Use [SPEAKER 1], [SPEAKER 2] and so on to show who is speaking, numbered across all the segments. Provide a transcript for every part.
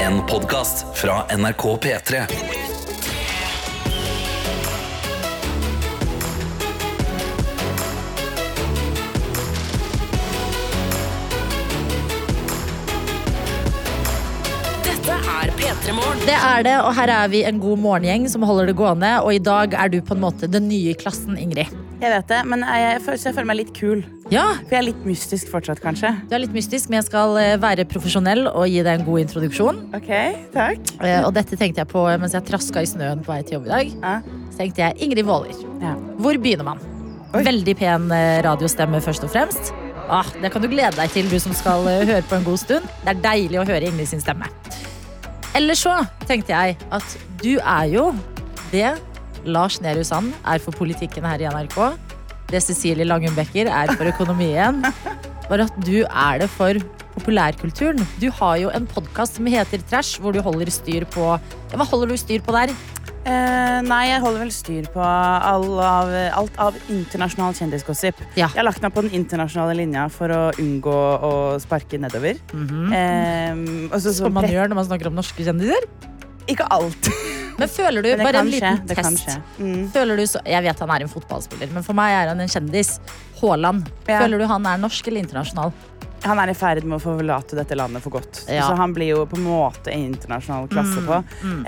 [SPEAKER 1] En podcast fra NRK P3
[SPEAKER 2] Dette er P3 Morgen.
[SPEAKER 3] Det er det, og her er vi en god morgengjeng som holder det gående. Og i dag er du på en måte den nye i klassen, Ingrid.
[SPEAKER 4] Jeg vet det, men jeg, jeg, føler, så jeg føler meg litt kul.
[SPEAKER 3] Ja,
[SPEAKER 4] For jeg er litt mystisk fortsatt, kanskje.
[SPEAKER 3] du er litt mystisk, men jeg skal eh, være profesjonell og gi deg en god introduksjon.
[SPEAKER 4] Ok, takk.
[SPEAKER 3] Eh, Og dette tenkte jeg på mens jeg traska i snøen på vei til jobb i dag.
[SPEAKER 4] Ja.
[SPEAKER 3] Så tenkte jeg Ingrid Waaler.
[SPEAKER 4] Ja.
[SPEAKER 3] Hvor begynner man?
[SPEAKER 4] Oi.
[SPEAKER 3] Veldig pen eh, radiostemme, først og fremst. Ah, det kan du glede deg til, du som skal eh, høre på en god stund. Det er deilig å høre Ingrid sin stemme. Eller så tenkte jeg at du er jo det Lars Nehru Sand er for politikken her i NRK. Det Cecilie Langum Becker er for økonomien. Bare at du er det for populærkulturen. Du har jo en podkast som heter Trash, hvor du holder styr på ja, Hva holder du styr på der?
[SPEAKER 4] Eh, nei, jeg holder vel styr på all av, alt av internasjonal kjendisgossip.
[SPEAKER 3] Ja.
[SPEAKER 4] Jeg har lagt meg på den internasjonale linja for å unngå å sparke nedover. Eh, og så, så,
[SPEAKER 3] Som Mhm. man gjør når man snakker om norske kjendiser?
[SPEAKER 4] Ikke alt,
[SPEAKER 3] Men føler du,
[SPEAKER 4] men det
[SPEAKER 3] bare
[SPEAKER 4] kan
[SPEAKER 3] en
[SPEAKER 4] skje.
[SPEAKER 3] liten
[SPEAKER 4] Det kan
[SPEAKER 3] test
[SPEAKER 4] skje. Mm.
[SPEAKER 3] Føler du så, Jeg vet han er en fotballspiller, men for meg er han en kjendis. Haaland.
[SPEAKER 4] Ja.
[SPEAKER 3] Føler du han er norsk eller internasjonal?
[SPEAKER 4] Han er i ferd med å forlate dette landet for godt.
[SPEAKER 3] Ja. Mm,
[SPEAKER 4] Så han blir jo på en måte i internasjonal klasse på.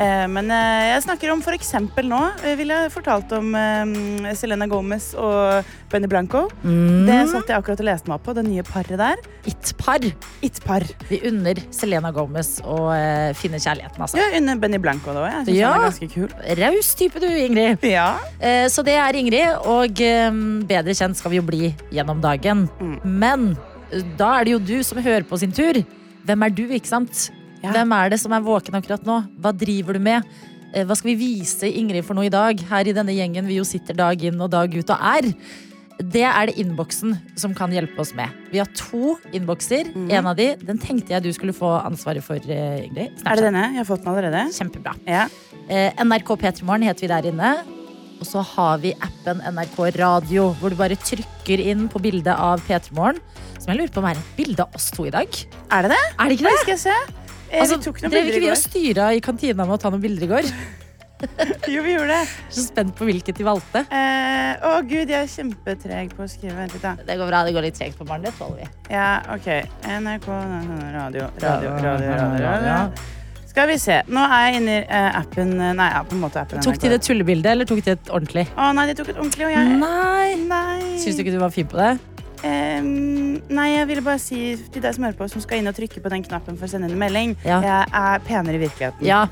[SPEAKER 4] Eh, men eh, jeg snakker om for eksempel nå eh, ville jeg fortalt om eh, Selena Gomez og Benny Blanco.
[SPEAKER 3] Mm.
[SPEAKER 4] Det satt jeg akkurat og leste meg opp på, det nye paret der.
[SPEAKER 3] It-par.
[SPEAKER 4] It-par.
[SPEAKER 3] Vi unner Selena Gomez å eh, finne kjærligheten, altså.
[SPEAKER 4] Ja, under Benny Blanco da òg. Jeg syns
[SPEAKER 3] Ja.
[SPEAKER 4] han er ganske kul.
[SPEAKER 3] Raus type du, Ingrid.
[SPEAKER 4] Ja.
[SPEAKER 3] Eh, Så det er Ingrid, og eh, bedre kjent skal vi jo bli gjennom dagen.
[SPEAKER 4] Mm.
[SPEAKER 3] Men eh, da er det jo du som hører på sin tur. Hvem er du, ikke sant?
[SPEAKER 4] Ja.
[SPEAKER 3] Hvem er det som er våken akkurat nå? Hva driver du med? Eh, Hva skal vi vise Ingrid for noe i dag? Her i denne gjengen vi jo sitter dag inn og dag ut og er. Det er det innboksen som kan hjelpe oss med. Vi har to innbokser. En av de, den tenkte jeg du skulle få ansvaret for, eh, Ingrid.
[SPEAKER 4] Mm. Er det denne? Jeg har fått den allerede.
[SPEAKER 3] Kjempebra.
[SPEAKER 4] Ja.
[SPEAKER 3] Eh, NRK P3morgen heter vi der inne. Og så har vi appen NRK Radio, hvor du bare trykker inn på bildet av P3morgen. Som jeg lurer på om er et bilde av oss to i dag.
[SPEAKER 4] Er det det?
[SPEAKER 3] Er det ikke
[SPEAKER 4] Oi,
[SPEAKER 3] det?
[SPEAKER 4] skal jeg se. Eh,
[SPEAKER 3] Altså,
[SPEAKER 4] vi tok noen
[SPEAKER 3] drev ikke
[SPEAKER 4] bilder i
[SPEAKER 3] vi og
[SPEAKER 4] går.
[SPEAKER 3] styra i kantina med å ta noen bilder i går?
[SPEAKER 4] Jo, vi gjorde det.
[SPEAKER 3] Så spent på hvilket de valgte.
[SPEAKER 4] Eh, å gud, jeg er kjempetreg på å skrive. Vent litt, da.
[SPEAKER 3] Det går bra, det går litt tregt på morgenen. Det tåler vi.
[SPEAKER 4] Ja, OK. NRK radio, radio, radio, radio, radio. Skal vi se. Nå er jeg inni eh, appen eh, Nei, ja, på en måte appen
[SPEAKER 3] Tok de det tullebildet, eller tok de et ordentlig?
[SPEAKER 4] Å nei, de tok et ordentlig, og jeg
[SPEAKER 3] Nei!
[SPEAKER 4] Nei.
[SPEAKER 3] Syns du ikke du var fin på det?
[SPEAKER 4] Eh, nei, jeg ville bare si til deg som hører på, som skal inn og trykke på den knappen for å sende inn en melding,
[SPEAKER 3] Ja.
[SPEAKER 4] jeg er penere i virkeligheten.
[SPEAKER 3] Ja.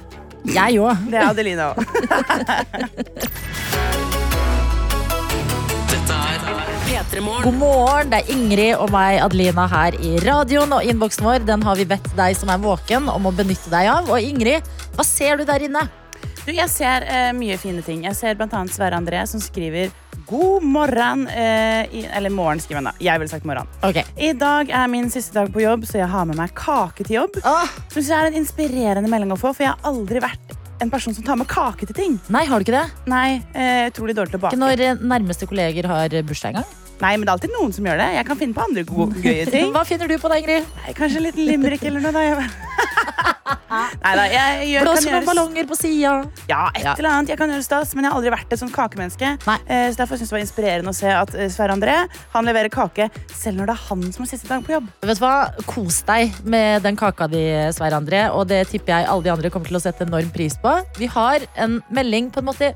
[SPEAKER 3] Jeg òg.
[SPEAKER 4] Det er Adelina òg.
[SPEAKER 1] Dette er
[SPEAKER 2] P3 Morgen.
[SPEAKER 3] God morgen, det er Ingrid og meg, Adelina, her i radioen. Og innboksen vår den har vi bedt deg som er våken, om å benytte deg av. Og Ingrid, hva ser du der inne?
[SPEAKER 4] Du, jeg ser eh, mye fine ting. Jeg ser blant annet Sverre André som skriver God morgen. Eh, i, eller morgen, skriver han da. Jeg ville sagt morgen.
[SPEAKER 3] Ok.
[SPEAKER 4] I dag er min siste dag på jobb, så jeg har med meg kake til jobb.
[SPEAKER 3] Ah.
[SPEAKER 4] Som synes jeg er en inspirerende melding å få, for jeg har aldri vært en person som tar med kake til ting.
[SPEAKER 3] Nei, har du ikke det?
[SPEAKER 4] Nei, eh, utrolig dårlig til å bake.
[SPEAKER 3] Ikke når eh, nærmeste kolleger har eh, bursdag engang.
[SPEAKER 4] Nei, men det er alltid noen som gjør det. Jeg kan finne på andre gode, gøye ting.
[SPEAKER 3] Hva finner du på da, Ingrid?
[SPEAKER 4] Nei, kanskje en liten limerick eller noe. Da. Jeg... Nei da, jeg gjør,
[SPEAKER 3] Blåser
[SPEAKER 4] kan
[SPEAKER 3] noen
[SPEAKER 4] gjøre
[SPEAKER 3] ballonger på sida.
[SPEAKER 4] ja, et
[SPEAKER 3] Ja.
[SPEAKER 4] eller annet. Jeg kan gjøre stas, men jeg har aldri vært et sånt kakemenneske.
[SPEAKER 3] Nei.
[SPEAKER 4] Eh, så derfor synes jeg det var inspirerende å se at eh, Sverre André han leverer kake selv når det er han som har siste dag på jobb.
[SPEAKER 3] Vet du hva? Kos deg med den kaka di, Sverre André. Og det tipper jeg alle de andre kommer til å sette enorm pris på. Vi har en melding på en måte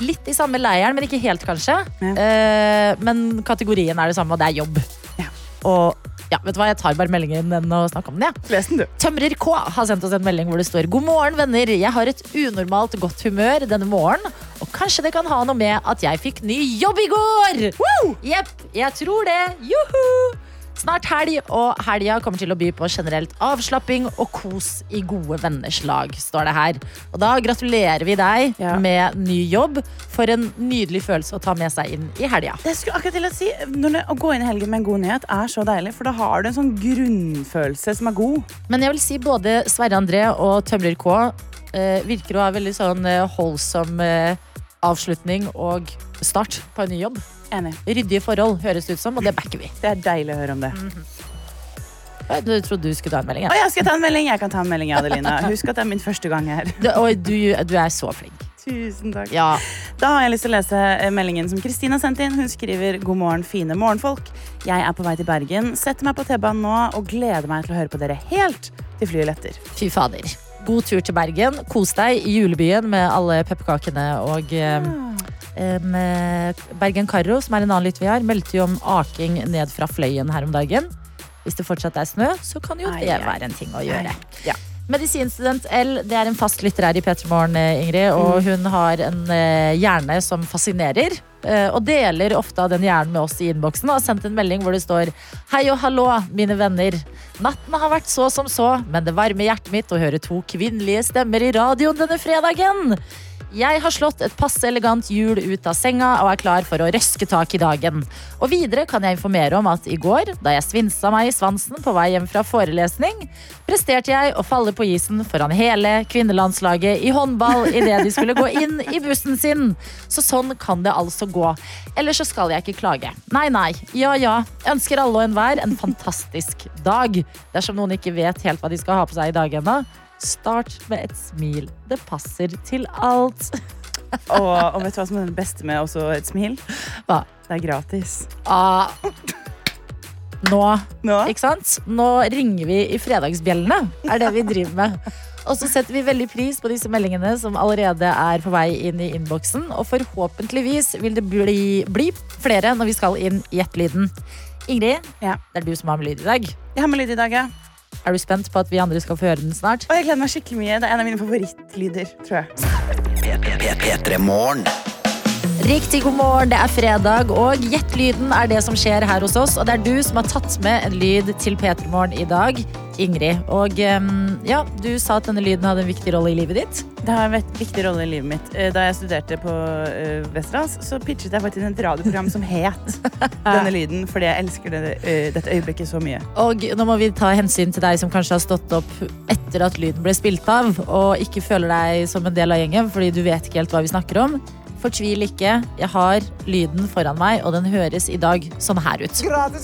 [SPEAKER 3] litt i samme leiren, men ikke helt, kanskje.
[SPEAKER 4] Ja.
[SPEAKER 3] Eh, men kategorien er det samme, og det er jobb.
[SPEAKER 4] Ja.
[SPEAKER 3] Og ja, vet du hva? Jeg tar bare meldingen enn å snakke om den, jeg.
[SPEAKER 4] Les den, du.
[SPEAKER 3] Tømrer K har sendt oss en melding hvor det står God morgen, venner. Jeg har et unormalt godt humør denne morgenen. Og kanskje det kan ha noe med at jeg fikk ny jobb i går! Jepp, jeg tror det. Juhu! Snart helg, og helga kommer til å by på generelt avslapping og kos i gode venners lag, står det her. Og da gratulerer vi deg
[SPEAKER 4] Ja.
[SPEAKER 3] med ny jobb. For en nydelig følelse å ta med seg inn i helga.
[SPEAKER 4] Det skulle akkurat til å si når det, Å gå inn i helgen med en god nyhet er så deilig, for da har du en sånn grunnfølelse som er god.
[SPEAKER 3] Men jeg vil si både Sverre André og Tømler K eh, virker å ha veldig sånn eh, holdsom eh, avslutning og start på en ny jobb.
[SPEAKER 4] Enig.
[SPEAKER 3] Ryddige forhold høres det ut som, og det backer vi.
[SPEAKER 4] Mm. Det er deilig å høre om det.
[SPEAKER 3] Oi, Du trodde du skulle ta en melding.
[SPEAKER 4] Å
[SPEAKER 3] Ja.
[SPEAKER 4] ja, skal jeg ta en melding? Jeg kan ta en melding, Adelina. Husk at det er min første gang her.
[SPEAKER 3] Du, oi, du, du er så flink.
[SPEAKER 4] Tusen takk.
[SPEAKER 3] Ja.
[SPEAKER 4] Da har jeg lyst til å lese eh, meldingen som Kristina sendte inn. Hun skriver God morgen, fine morgenfolk. Jeg er på vei til Bergen. Setter meg på T-banen nå og gleder meg til å høre på dere helt til flyet letter.
[SPEAKER 3] Fy fader. God tur til Bergen. Kos deg i julebyen med alle pepperkakene og eh, em, eh, Bergen Carro, som er en annen lytter vi har, meldte jo om aking ned fra Fløyen her om dagen. Hvis det fortsatt er snø, så kan jo
[SPEAKER 4] Ai,
[SPEAKER 3] det
[SPEAKER 4] ai.
[SPEAKER 3] være en ting å gjøre.
[SPEAKER 4] Ja.
[SPEAKER 3] Medisinstudent L det er en fast lytter her i P3 Morgen, eh, Ingrid.
[SPEAKER 4] Mm.
[SPEAKER 3] Og hun har en eh, hjerne som fascinerer. eh, Og deler ofte av den hjernen med oss i innboksen. Og har sendt en melding hvor det står Hei og hallo, mine venner. Natten har vært så som så, men det varmer hjertet mitt å høre to kvinnelige stemmer i radioen denne fredagen. Jeg har slått et passe elegant hjul ut av senga og er klar for å røske tak i dagen. Og videre kan jeg informere om at i går, da jeg svinsa meg i svansen på vei hjem fra forelesning, presterte jeg å falle på isen foran hele kvinnelandslaget i håndball idet de skulle gå inn i bussen sin. Så sånn kan det altså gå. Ellers så skal jeg ikke klage. Nei, nei. Ja, ja. Ønsker alle og enhver en fantastisk dag. Dersom noen ikke vet helt hva de skal ha på seg i dag ennå, Start med et smil. Det passer til alt.
[SPEAKER 4] Og, og vet du hva som er det beste med også et smil?
[SPEAKER 3] Hva?
[SPEAKER 4] Det er gratis.
[SPEAKER 3] Ah. Nå,
[SPEAKER 4] Nå?
[SPEAKER 3] ikke sant? Nå ringer vi i fredagsbjellene, er det vi driver med. Og så setter vi veldig pris på disse meldingene som allerede er på vei inn i innboksen. Og forhåpentligvis vil det bli, bli flere når vi skal inn i Jeppelyden. Ingrid,
[SPEAKER 4] Ja.
[SPEAKER 3] det er du som har med lyd i dag.
[SPEAKER 4] Jeg har med lyd i dag, ja.
[SPEAKER 3] Er du spent på at vi andre skal få høre den snart?
[SPEAKER 4] Og jeg gleder meg skikkelig mye. Det er en av mine favorittlyder, tror jeg.
[SPEAKER 1] P3-morgen.
[SPEAKER 3] Riktig god morgen, det er fredag, og gjett lyden er det som skjer her hos oss. Og det er du som har tatt med en lyd til P3morgen i dag, Ingrid. Og ehm, ja, du sa at denne lyden hadde en viktig rolle i livet ditt.
[SPEAKER 4] Det har en vekt- viktig rolle i livet mitt. Eh, Da jeg studerte på eh, Westerdals, så pitchet jeg faktisk inn et radioprogram som het denne lyden, fordi jeg elsker det, eh, dette øyeblikket så mye.
[SPEAKER 3] Og nå må vi ta hensyn til deg som kanskje har stått opp etter at lyden ble spilt av, og ikke føler deg som en del av gjengen fordi du vet ikke helt hva vi snakker om. Fortvil ikke. Jeg har lyden foran meg, og den høres i dag sånn her ut.
[SPEAKER 4] Jeg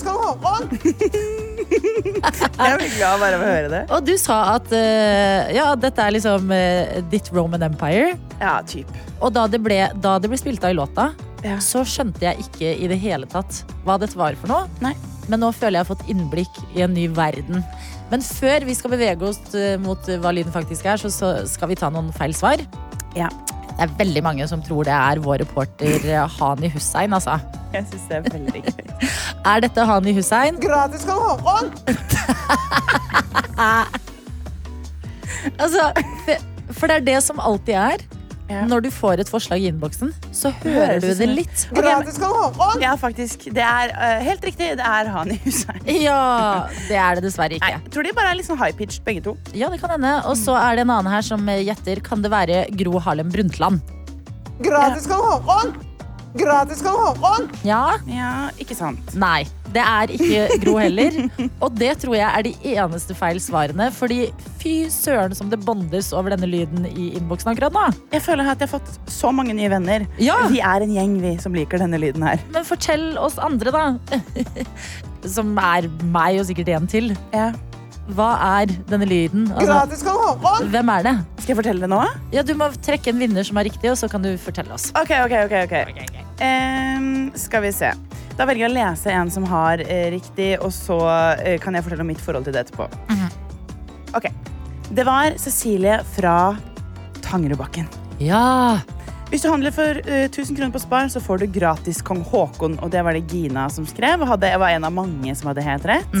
[SPEAKER 4] blir glad bare av å høre det.
[SPEAKER 3] Og du sa at eh, ja, dette er liksom eh, ditt Roman Empire.
[SPEAKER 4] Ja, typ.
[SPEAKER 3] Og da det ble, da det ble spilt av i låta,
[SPEAKER 4] Ja.
[SPEAKER 3] så skjønte jeg ikke i det hele tatt hva dette var for noe.
[SPEAKER 4] Nei.
[SPEAKER 3] Men nå føler jeg har fått innblikk i en ny verden. Men før vi skal bevege oss eh, mot eh, hva lyden faktisk er, så, så skal vi ta noen feil svar.
[SPEAKER 4] Ja.
[SPEAKER 3] Det er veldig mange som tror det er vår reporter eh, Hani Hussein, altså.
[SPEAKER 4] Jeg syns det er veldig gøy.
[SPEAKER 3] Er dette Hani Hussein?
[SPEAKER 4] Gratis kan Håkon!
[SPEAKER 3] Altså, for- for det er det som alltid er.
[SPEAKER 4] Ja.
[SPEAKER 3] Når du får et forslag i innboksen, så hører
[SPEAKER 4] Høres
[SPEAKER 3] du
[SPEAKER 4] ut som
[SPEAKER 3] det
[SPEAKER 4] en-
[SPEAKER 3] litt.
[SPEAKER 4] Gratis kan Håkon! Ja, faktisk. Det er eh, helt riktig. Det er han i huset.
[SPEAKER 3] Ja, det er det dessverre
[SPEAKER 4] Nei,
[SPEAKER 3] ikke.
[SPEAKER 4] jeg tror de bare er litt sånn high-pitched, begge to.
[SPEAKER 3] Ja, det kan hende. Og så er det en annen her som eh, gjetter. Kan det være Gro Harlem Brundtland?
[SPEAKER 5] Gratis kan Håkon! Gratis kan Håkon!
[SPEAKER 3] Ja.
[SPEAKER 4] Ja, ikke sant.
[SPEAKER 3] Nei. Det er ikke Gro heller. Og det tror jeg er de eneste feil svarene. Fordi fy søren som det bondes over denne lyden i innboksen akkurat nå.
[SPEAKER 4] Jeg føler at jeg har fått så mange nye venner.
[SPEAKER 3] Ja.
[SPEAKER 4] Vi er en gjeng, vi, som liker denne lyden her.
[SPEAKER 3] Men fortell oss andre, da. Som er meg og sikkert en til.
[SPEAKER 4] Ja.
[SPEAKER 3] Hva er denne lyden? Altså,
[SPEAKER 5] Gratis kan Håkon!
[SPEAKER 3] hvem er det?
[SPEAKER 4] Skal jeg fortelle det nå?
[SPEAKER 3] Ja, du må trekke en vinner som er riktig, og så kan du fortelle oss.
[SPEAKER 4] Ok, ok, ok. ok. Ehm, skal vi se. Da velger jeg å lese en som har eh, riktig, og så eh, kan jeg fortelle om mitt forhold til det etterpå. Ok. Det var Cecilie fra Tangerudbakken.
[SPEAKER 3] Ja.
[SPEAKER 4] Hvis du handler for eh, 1000 kroner på Spar, så får du gratis Kong Haakon. Og det var det Gina som skrev. og Hadde, jeg var en av mange som hadde helt rett.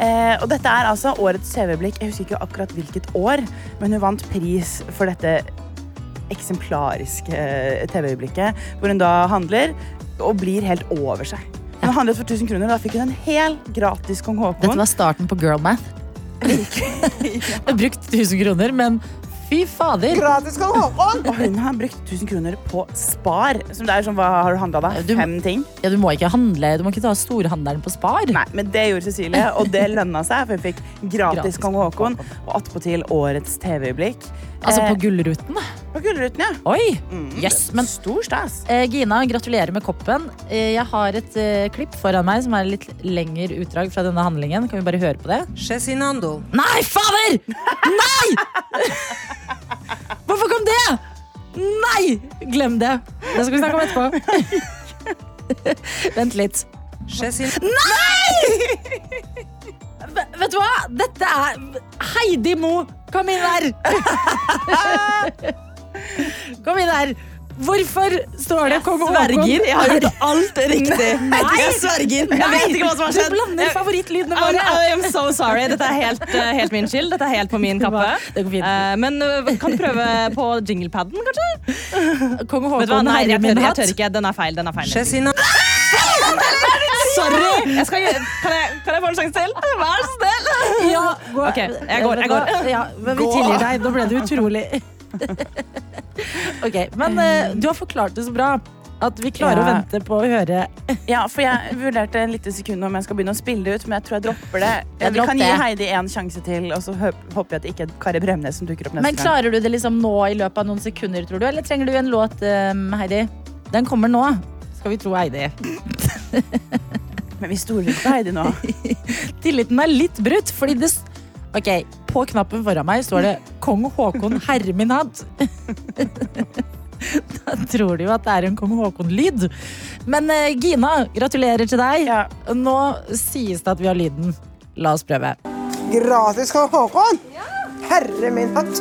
[SPEAKER 4] eh, og dette er altså årets TV-blikk. Jeg husker ikke akkurat hvilket år, men hun vant pris for dette eksemplariske eh, TV-øyeblikket, hvor hun da handler og blir helt over seg. Hun handlet for 1000 kroner, og da fikk hun en hel gratis Kong Haakon.
[SPEAKER 3] Dette var starten på girlmath. Jeg har brukt 1000 kroner, men Fy fader.
[SPEAKER 5] Gratis Karl Håkon!
[SPEAKER 4] Og hun har brukt 1000 kroner på Spar. Som det er sånn, hva har du handla da?
[SPEAKER 3] Du-
[SPEAKER 4] Fem ting?
[SPEAKER 3] Ja, du må ikke handle, du må ikke ta storhandelen på Spar.
[SPEAKER 4] Nei, men det gjorde Cecilie, og det lønna seg. For hun fikk
[SPEAKER 3] Gratis
[SPEAKER 4] gratis Kong Haakon,
[SPEAKER 3] Kong
[SPEAKER 4] og attpåtil årets TV-øyeblikk.
[SPEAKER 3] Altså
[SPEAKER 4] Eh,
[SPEAKER 3] på Gullruten.
[SPEAKER 4] på Gullruten, ja.
[SPEAKER 3] Oi! Yes, men
[SPEAKER 4] Stor stas.
[SPEAKER 3] Eh, Gina, gratulerer med koppen. Eh, jeg har et eh, klipp foran meg som er litt lengre utdrag fra denne handlingen. Kan vi bare høre på det?
[SPEAKER 6] Cezinando.
[SPEAKER 3] Nei, fader! Nei! Hvorfor kom det? Nei! Glem det. Det skal vi snakke om etterpå. Vent litt.
[SPEAKER 6] Cezin-
[SPEAKER 3] V vet du hva? Dette er Heidi Mo. Kom inn her! Kom inn her. Hvorfor står det kong Haakon?
[SPEAKER 7] Sverger. Jeg har gjort alt riktig. Jeg sverger. Jeg vet ikke hva som har
[SPEAKER 3] Du
[SPEAKER 7] skjedd.
[SPEAKER 3] blander
[SPEAKER 7] Jeg-
[SPEAKER 3] favorittlydene
[SPEAKER 7] I'm,
[SPEAKER 3] våre.
[SPEAKER 7] I'm so sorry. Dette er helt, eh, helt min skyld. Dette er helt på min kappe.
[SPEAKER 3] Det går fint.
[SPEAKER 7] Eh, men eh, kan du prøve på jinglepaden, kanskje? Vet du
[SPEAKER 3] Kong
[SPEAKER 7] hva?
[SPEAKER 3] Haakon
[SPEAKER 7] Nei,
[SPEAKER 3] herjer
[SPEAKER 7] jeg
[SPEAKER 3] min
[SPEAKER 7] tør, jeg
[SPEAKER 3] hatt.
[SPEAKER 7] tør ikke. Den er feil. Den er feil.
[SPEAKER 6] Cezinando.
[SPEAKER 7] Sorry! Jeg skal, gi- kan, jeg, kan jeg få en sjanse til? Vær så snill!
[SPEAKER 3] Ja, gå.
[SPEAKER 7] Ok, jeg går, jeg går.
[SPEAKER 3] Vet du hva? Ja, men vi tilgir deg. Nå ble det utrolig. ok, men eh, du har forklart det så bra at vi klarer å
[SPEAKER 4] Ja.
[SPEAKER 3] vente på å høre
[SPEAKER 4] Ja, for jeg vurderte en liten sekund om jeg skal begynne å spille det ut, men jeg tror jeg dropper det. Eh,
[SPEAKER 3] Jeg
[SPEAKER 4] Vi
[SPEAKER 3] dropper
[SPEAKER 4] kan gi
[SPEAKER 3] det.
[SPEAKER 4] Heidi en sjanse til, og så hø- håper jeg at det ikke er Kari Bremnes som dukker opp neste
[SPEAKER 3] Men klarer du det liksom nå i løpet av noen sekunder, tror du? Eller trenger du en låt, eh, Heidi? Den kommer nå, skal vi tro Heidi.
[SPEAKER 4] gang. Men vi stoler ikke på Heidi nå.
[SPEAKER 3] Tilliten er litt brutt, fordi det s- Ok, på knappen foran meg står det 'Kong Haakon herre min hatt'. da tror du jo at det er en kong Haakon-lyd. Men eh, Gina, gratulerer til deg.
[SPEAKER 4] Ja.
[SPEAKER 3] Nå sies det at vi har lyden. La oss prøve.
[SPEAKER 5] Gratis Karl Håkon! Herre min hatt!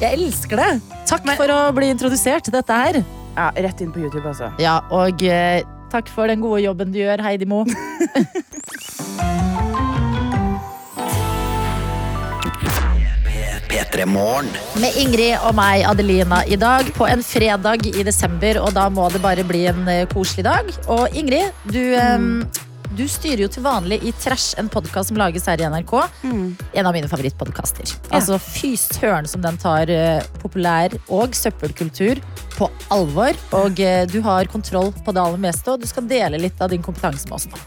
[SPEAKER 3] Jeg elsker det! Takk for å bli introdusert til dette her.
[SPEAKER 4] Ja, rett inn på YouTube, altså.
[SPEAKER 3] Ja, og eh, takk for den gode jobben du gjør, Heidi Mo.
[SPEAKER 1] P3 Morgen.
[SPEAKER 3] Med Ingrid og meg, Adelina, i dag på en fredag i desember. Og da må det bare bli en eh, koselig dag. Og Ingrid, du, eh, du styrer jo til vanlig i Trash, en podkast som lages her i NRK.
[SPEAKER 4] Mm.
[SPEAKER 3] En av mine favorittpodkaster. Altså fy søren som den tar eh, populær og søppelkultur på alvor. Og eh, du har kontroll på det aller meste, og du skal dele litt av din kompetanse med oss nå.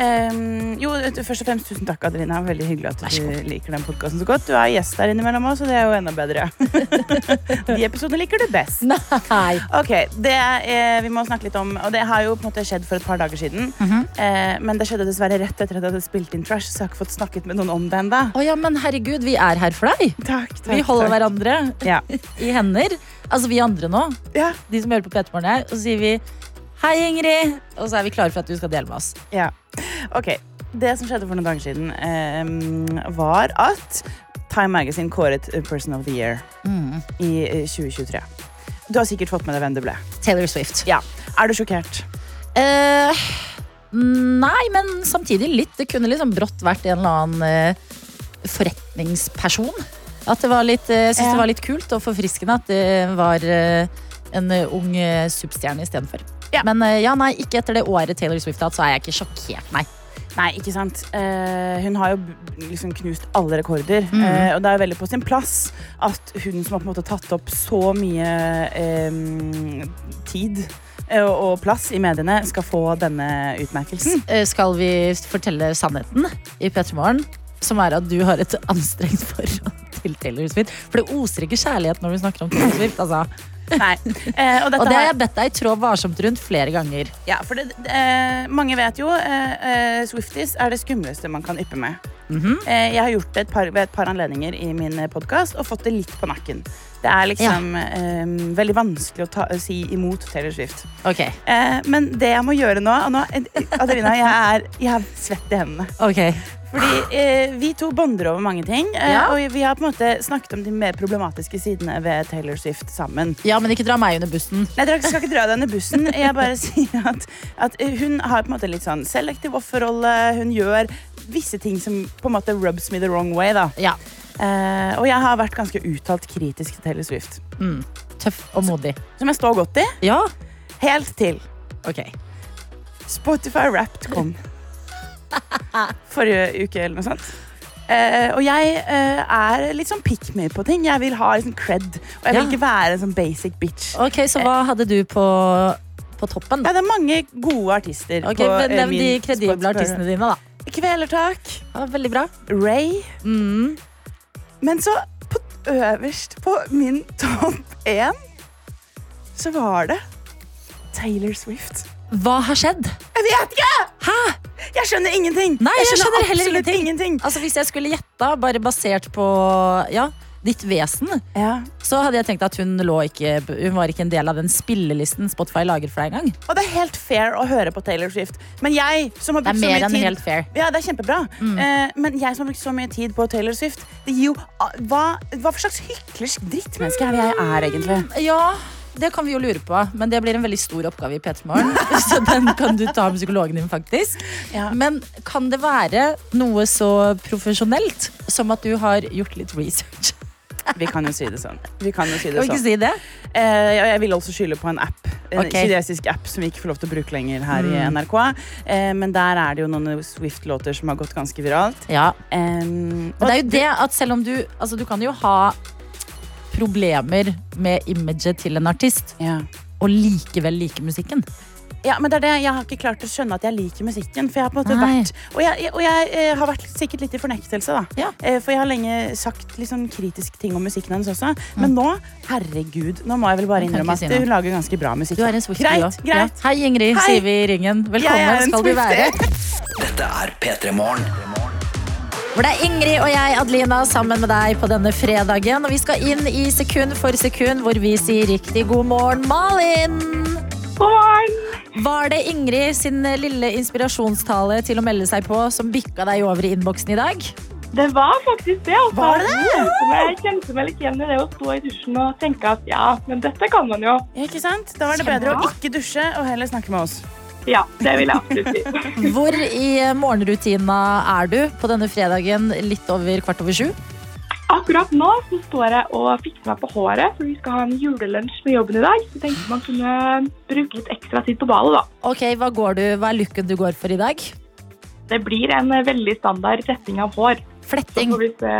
[SPEAKER 4] Ehm, jo, først og fremst tusen takk, Adelina. Veldig hyggelig at du liker den podkasten så godt. Du er gjest der innimellom òg, så det er jo enda bedre. De episodene liker du best.
[SPEAKER 3] Nei.
[SPEAKER 4] Ok, det eh, vi må snakke litt om Og det har jo på en måte skjedd for et par dager siden eh, Men det skjedde dessverre rett etter at jeg hadde spilt inn Trash Så jeg har ikke fått snakket med noen om det enda
[SPEAKER 3] Å ja, men herregud, vi er her for deg.
[SPEAKER 4] Takk, takk,
[SPEAKER 3] Vi holder
[SPEAKER 4] takk.
[SPEAKER 3] hverandre
[SPEAKER 4] Ja.
[SPEAKER 3] i hender. Altså vi andre nå,
[SPEAKER 4] Ja,
[SPEAKER 3] de som hører på P3morgen her, og så sier vi Hei, Ingrid! Og så er vi klare for at du skal dele med oss.
[SPEAKER 4] ja Ok, det som skjedde for noen dager siden eh, Var at Time Magazine kåret eh, Person of the Year I eh, 2023 Du har sikkert fått med deg hvem det ble
[SPEAKER 3] Taylor Swift.
[SPEAKER 4] Ja, er du sjokkert?
[SPEAKER 3] Eh, nei, men samtidig litt. Det kunne liksom brått vært en eller annen eh, forretningsperson. At det var litt, eh, jeg synes
[SPEAKER 4] Ja.
[SPEAKER 3] det var litt kult og forfriskende at det var eh, en eh, ung eh, superstjerne istedenfor.
[SPEAKER 4] Ja.
[SPEAKER 3] Men eh, ja, nei, ikke etter det året Taylor Swift har hatt, så er jeg ikke sjokkert, nei.
[SPEAKER 4] Nei, ikke sant. Eh, hun har jo b- liksom knust alle rekorder. Eh, og det er jo veldig på sin plass at hun som har på en måte tatt opp så mye eh, tid eh, og og plass i mediene, skal få denne utmerkelsen.
[SPEAKER 3] Eh, skal vi fortelle sannheten i P3 Morgen, som er at du har et anstrengt forhold til Taylor Swift. For det oser ikke kjærlighet når vi snakker om Taylor Swift, altså.
[SPEAKER 4] Nei. Eh, og dette
[SPEAKER 3] Og det har
[SPEAKER 4] har-
[SPEAKER 3] jeg bedt deg trå varsomt rundt flere ganger.
[SPEAKER 4] ja, for det, eh, mange vet jo eh, eh, Swifties er det skumleste man kan yppe med. eh, jeg har gjort det et par, ved et par anledninger i min podkast og fått det litt på nakken. Det er liksom eh, veldig vanskelig å ta, eh, si imot Taylor Swift.
[SPEAKER 3] Ok,
[SPEAKER 4] Eh, men det jeg må gjøre nå, og nå eh, Adelina, jeg er, jeg er svett i hendene.
[SPEAKER 3] ok.
[SPEAKER 4] Fordi eh, vi to bonder over mange ting. Eh,
[SPEAKER 3] Ja.
[SPEAKER 4] Og vi har på en måte snakket om de mer problematiske sidene ved Taylor Swift sammen.
[SPEAKER 3] Ja, men ikke dra meg under bussen.
[SPEAKER 4] Nei, dere skal ikke dra denne bussen. Jeg bare sier at, at hun har på en måte litt sånn selektiv offerrolle. Hun gjør visse ting som på en måte rubs me the wrong way, da.
[SPEAKER 3] Ja,
[SPEAKER 4] Eh, og jeg har vært ganske uttalt kritisk til Taylor Swift.
[SPEAKER 3] tøff og modig.
[SPEAKER 4] Som jeg står godt i.
[SPEAKER 3] Ja,
[SPEAKER 4] Helt til
[SPEAKER 3] ok.
[SPEAKER 4] Spotify Wrapped kom. Forrige uke eller noe sånt. Eh, og jeg eh, er litt sånn pick me på ting. Jeg vil ha liksom cred. Og jeg vil
[SPEAKER 3] Ja.
[SPEAKER 4] ikke være en sånn basic bitch.
[SPEAKER 3] Ok, Så hva hadde du på, på toppen,
[SPEAKER 4] Ja,
[SPEAKER 3] da?
[SPEAKER 4] det er mange gode artister.
[SPEAKER 3] Ok,
[SPEAKER 4] på, eh,
[SPEAKER 3] men Nevn
[SPEAKER 4] min
[SPEAKER 3] de kredible
[SPEAKER 4] Spotify.
[SPEAKER 3] artistene dine, da.
[SPEAKER 4] Kvelertak.
[SPEAKER 3] Ja, veldig bra.
[SPEAKER 4] Ray.
[SPEAKER 3] Mm.
[SPEAKER 4] Men så på øverst på min topp én så var det Taylor Swift.
[SPEAKER 3] Hva har skjedd?
[SPEAKER 4] Jeg vet ikke!
[SPEAKER 3] Hæ?
[SPEAKER 4] Jeg skjønner ingenting.
[SPEAKER 3] Nei, jeg skjønner heller
[SPEAKER 4] absolutt ingenting.
[SPEAKER 3] Altså, Hvis jeg skulle gjette, bare basert på ja, ditt vesen,
[SPEAKER 4] Ja.
[SPEAKER 3] så hadde jeg tenkt at hun, lå ikke, hun var ikke en del av den spillelisten Spotify lager for deg engang.
[SPEAKER 4] Og det er helt fair å høre på Taylor Swift. Men jeg som har
[SPEAKER 3] Det er
[SPEAKER 4] brukt så
[SPEAKER 3] mer
[SPEAKER 4] mye
[SPEAKER 3] enn
[SPEAKER 4] tid
[SPEAKER 3] helt fair. Mm.
[SPEAKER 4] Ja, det er kjempebra. Eh, men jeg som har brukt så mye tid på Taylor Swift det gir jo, a- hva, hva for slags hyklersk drittmenneske er det jeg er, egentlig?
[SPEAKER 3] Ja, det kan vi jo lure på, men det blir en veldig stor oppgave i P3 Morgen. Så den kan du ta med psykologen din, faktisk.
[SPEAKER 4] Ja.
[SPEAKER 3] Men kan det være noe så profesjonelt som at du har gjort litt research?
[SPEAKER 4] Vi kan jo si det sånn. Vi kan jo si
[SPEAKER 3] Kan
[SPEAKER 4] det
[SPEAKER 3] vi ikke
[SPEAKER 4] sånn.
[SPEAKER 3] si det?
[SPEAKER 4] Eh, og jeg vil også skylde på en app. En
[SPEAKER 3] Ok. Mm.
[SPEAKER 4] kinesisk app som vi ikke får lov til å bruke lenger her i NRK. Eh, men der er det jo noen Swift-låter som har gått ganske viralt.
[SPEAKER 3] Ja.
[SPEAKER 4] Eh,
[SPEAKER 3] Og det er jo det at selv om du Altså, du kan jo ha problemer med imaget til en artist,
[SPEAKER 4] ja.
[SPEAKER 3] og likevel like musikken.
[SPEAKER 4] Ja, men det er det. Jeg har ikke klart å skjønne at jeg liker musikken. For jeg har på en måte
[SPEAKER 3] Nei.
[SPEAKER 4] vært Og jeg, jeg- og jeg eh, har vært sikkert litt i fornektelse, da.
[SPEAKER 3] Ja.
[SPEAKER 4] Eh, For jeg har lenge sagt litt sånn kritiske ting om musikken hennes også. Men nå, herregud, nå må jeg vel bare
[SPEAKER 3] Man Mm. kan ikke
[SPEAKER 4] innrømme
[SPEAKER 3] si
[SPEAKER 4] at
[SPEAKER 3] noe.
[SPEAKER 4] hun lager ganske bra musikk.
[SPEAKER 3] Du er en Swiftie
[SPEAKER 4] greit,
[SPEAKER 3] også.
[SPEAKER 4] greit.
[SPEAKER 3] Ja. Hei, Ingrid,
[SPEAKER 4] Hei.
[SPEAKER 3] sier vi i ringen.
[SPEAKER 4] Jeg er
[SPEAKER 3] Velkommen
[SPEAKER 4] en
[SPEAKER 3] skal du være.
[SPEAKER 4] Swiftie.
[SPEAKER 1] Dette er P3 Morgen.
[SPEAKER 3] Hvor det er Ingrid og jeg, Adelina, sammen med deg på denne fredagen. Og vi skal inn i sekund for sekund, hvor vi sier riktig god morgen, Malin!
[SPEAKER 8] God morgen!
[SPEAKER 3] Var det Ingrid sin lille inspirasjonstale til å melde seg på som bikka deg over i innboksen i dag?
[SPEAKER 8] Det var faktisk det. Altså.
[SPEAKER 4] Var det?
[SPEAKER 8] Jeg kjente meg- Jeg kjente meg litt igjen i det å stå i dusjen og tenke at ja, men dette kan man jo.
[SPEAKER 4] Ja, ikke sant? Da var det bedre å ikke dusje og heller snakke med oss.
[SPEAKER 8] Ja, det vil jeg absolutt si.
[SPEAKER 3] Hvor i morgenrutina er du på denne fredagen litt over kvart over sju?
[SPEAKER 8] Akkurat nå så står jeg og fikser meg på håret, for vi skal ha en julelunsj med jobben i dag. Så tenkte man kunne bruke litt ekstra tid på ballet, da.
[SPEAKER 3] Ok, Hva, går du, hva er looken du går for i dag?
[SPEAKER 8] Det blir en eh, veldig standard retting av hår. Så
[SPEAKER 3] Fletting.
[SPEAKER 8] får vi se.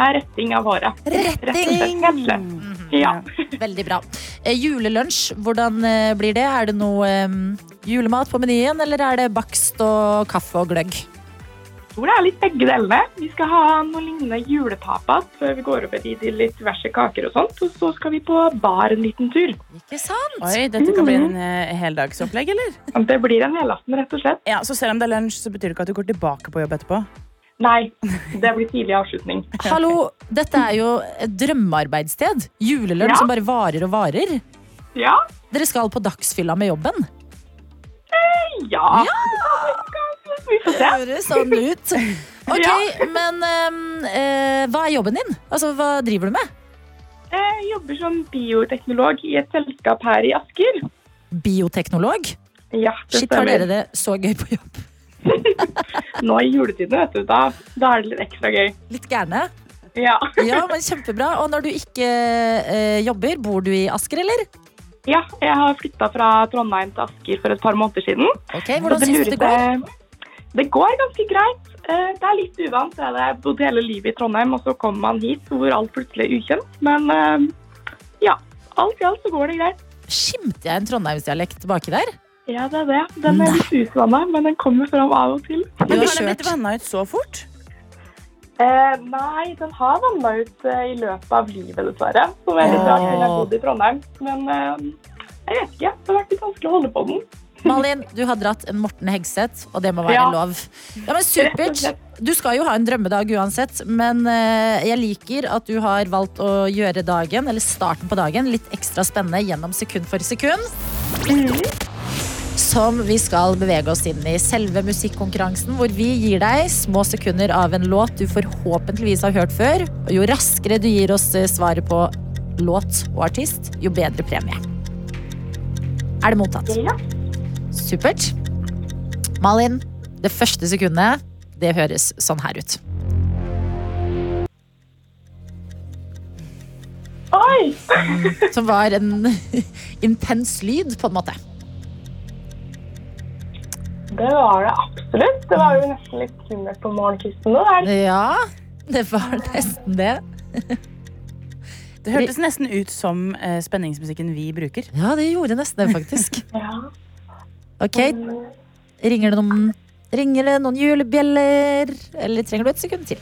[SPEAKER 8] Nei, retting av håret.
[SPEAKER 3] Retting.
[SPEAKER 8] Kanskje. Ja.
[SPEAKER 3] Veldig bra. Eh, julelunsj, hvordan eh, blir det? Er det noe eh, julemat på menyen, eller er det bakst og kaffe og gløgg?
[SPEAKER 8] Jeg tror det er litt begge delene. Vi skal ha noe lignende julepapas før vi går over i de litt verste kaker og sånt. Og så skal vi på bar en liten tur.
[SPEAKER 3] Ikke sant?
[SPEAKER 4] Oi, dette kan bli en eh, heldagsopplegg, eller?
[SPEAKER 8] Og Det blir en helaften, rett og slett.
[SPEAKER 4] Ja, Så selv om det er lunsj, så betyr det ikke at du går tilbake på jobb etterpå?
[SPEAKER 8] Nei, det blir tidlig avslutning.
[SPEAKER 3] Hallo, dette er jo et drømmearbeidssted. Julelønn
[SPEAKER 8] Ja.
[SPEAKER 3] som bare varer og varer.
[SPEAKER 8] Ja,
[SPEAKER 3] Dere skal på dagsfylla med jobben.
[SPEAKER 8] ja. Vi får se.
[SPEAKER 3] Høres sånn ut. Ok,
[SPEAKER 8] Ja.
[SPEAKER 3] men ehm, eh, hva er jobben din? Altså, hva driver du med?
[SPEAKER 8] Jeg jobber som bioteknolog i et selskap her i Asker.
[SPEAKER 3] Bioteknolog?
[SPEAKER 8] Ja, det
[SPEAKER 3] Shit, har dere
[SPEAKER 8] stemmer.
[SPEAKER 3] det så gøy på jobb?
[SPEAKER 8] Nå i juletiden, vet du, da, da er det litt ekstra gøy.
[SPEAKER 3] Litt gærne.
[SPEAKER 8] Ja.
[SPEAKER 3] Ja, men kjempebra. Og når du ikke eh, jobber, bor du i Asker, eller?
[SPEAKER 8] ja, jeg har flytta fra Trondheim til Asker for et par måneder siden.
[SPEAKER 3] Ok, Eh, Hvordan syns du det går?
[SPEAKER 8] Det går ganske greit. Eh, Det er litt uvant. det er det. Jeg bodde hele livet i Trondheim, og så kommer man hit hvor alt plutselig er ukjent. Men eh, ja, alt i alt så går det greit.
[SPEAKER 3] Skimter jeg en trondheimsdialekt baki der?
[SPEAKER 8] Ja, det er det. Den er litt usanna, men den kommer fram av og til.
[SPEAKER 3] Du
[SPEAKER 4] Men
[SPEAKER 3] har
[SPEAKER 4] har den blitt
[SPEAKER 3] kjørt.
[SPEAKER 4] vanna ut så fort?
[SPEAKER 8] Eh, nei, den har vanna ut eh, i løpet av livet, dessverre. Som er litt rart når jeg har bodd i Trondheim. Men eh, jeg vet ikke. Det har vært litt vanskelig å holde på den.
[SPEAKER 3] Malin, du har dratt en Morten Hegseth, og det må være
[SPEAKER 8] Ja.
[SPEAKER 3] lov. Ja, men
[SPEAKER 8] Rett og
[SPEAKER 3] Supert.
[SPEAKER 8] slett.
[SPEAKER 3] Du skal jo ha en drømmedag uansett, men eh, jeg liker at du har valgt å gjøre dagen, eller starten på dagen, litt ekstra spennende gjennom sekund for sekund. Som vi skal bevege oss inn i selve musikkonkurransen, hvor vi gir deg små sekunder av en låt du forhåpentligvis har hørt før. Og jo raskere du gir oss eh, svaret på låt og artist, jo bedre premie. Er det mottatt?
[SPEAKER 8] Ja.
[SPEAKER 3] Supert. Malin, det første sekundet, det høres sånn her ut.
[SPEAKER 8] Oi!
[SPEAKER 3] Som var en intens lyd, på en måte.
[SPEAKER 8] Det var det absolutt. Det var jo nesten litt skummelt på morgenkvisten nå. Det er
[SPEAKER 3] Ja, Det var nesten det.
[SPEAKER 4] Det hørtes nesten ut som eh, spenningsmusikken vi bruker.
[SPEAKER 3] Ja, det gjorde nesten det, faktisk.
[SPEAKER 8] Ja.
[SPEAKER 3] Ok, ringer det noen, ringer det noen julebjeller? Eller trenger du et sekund til?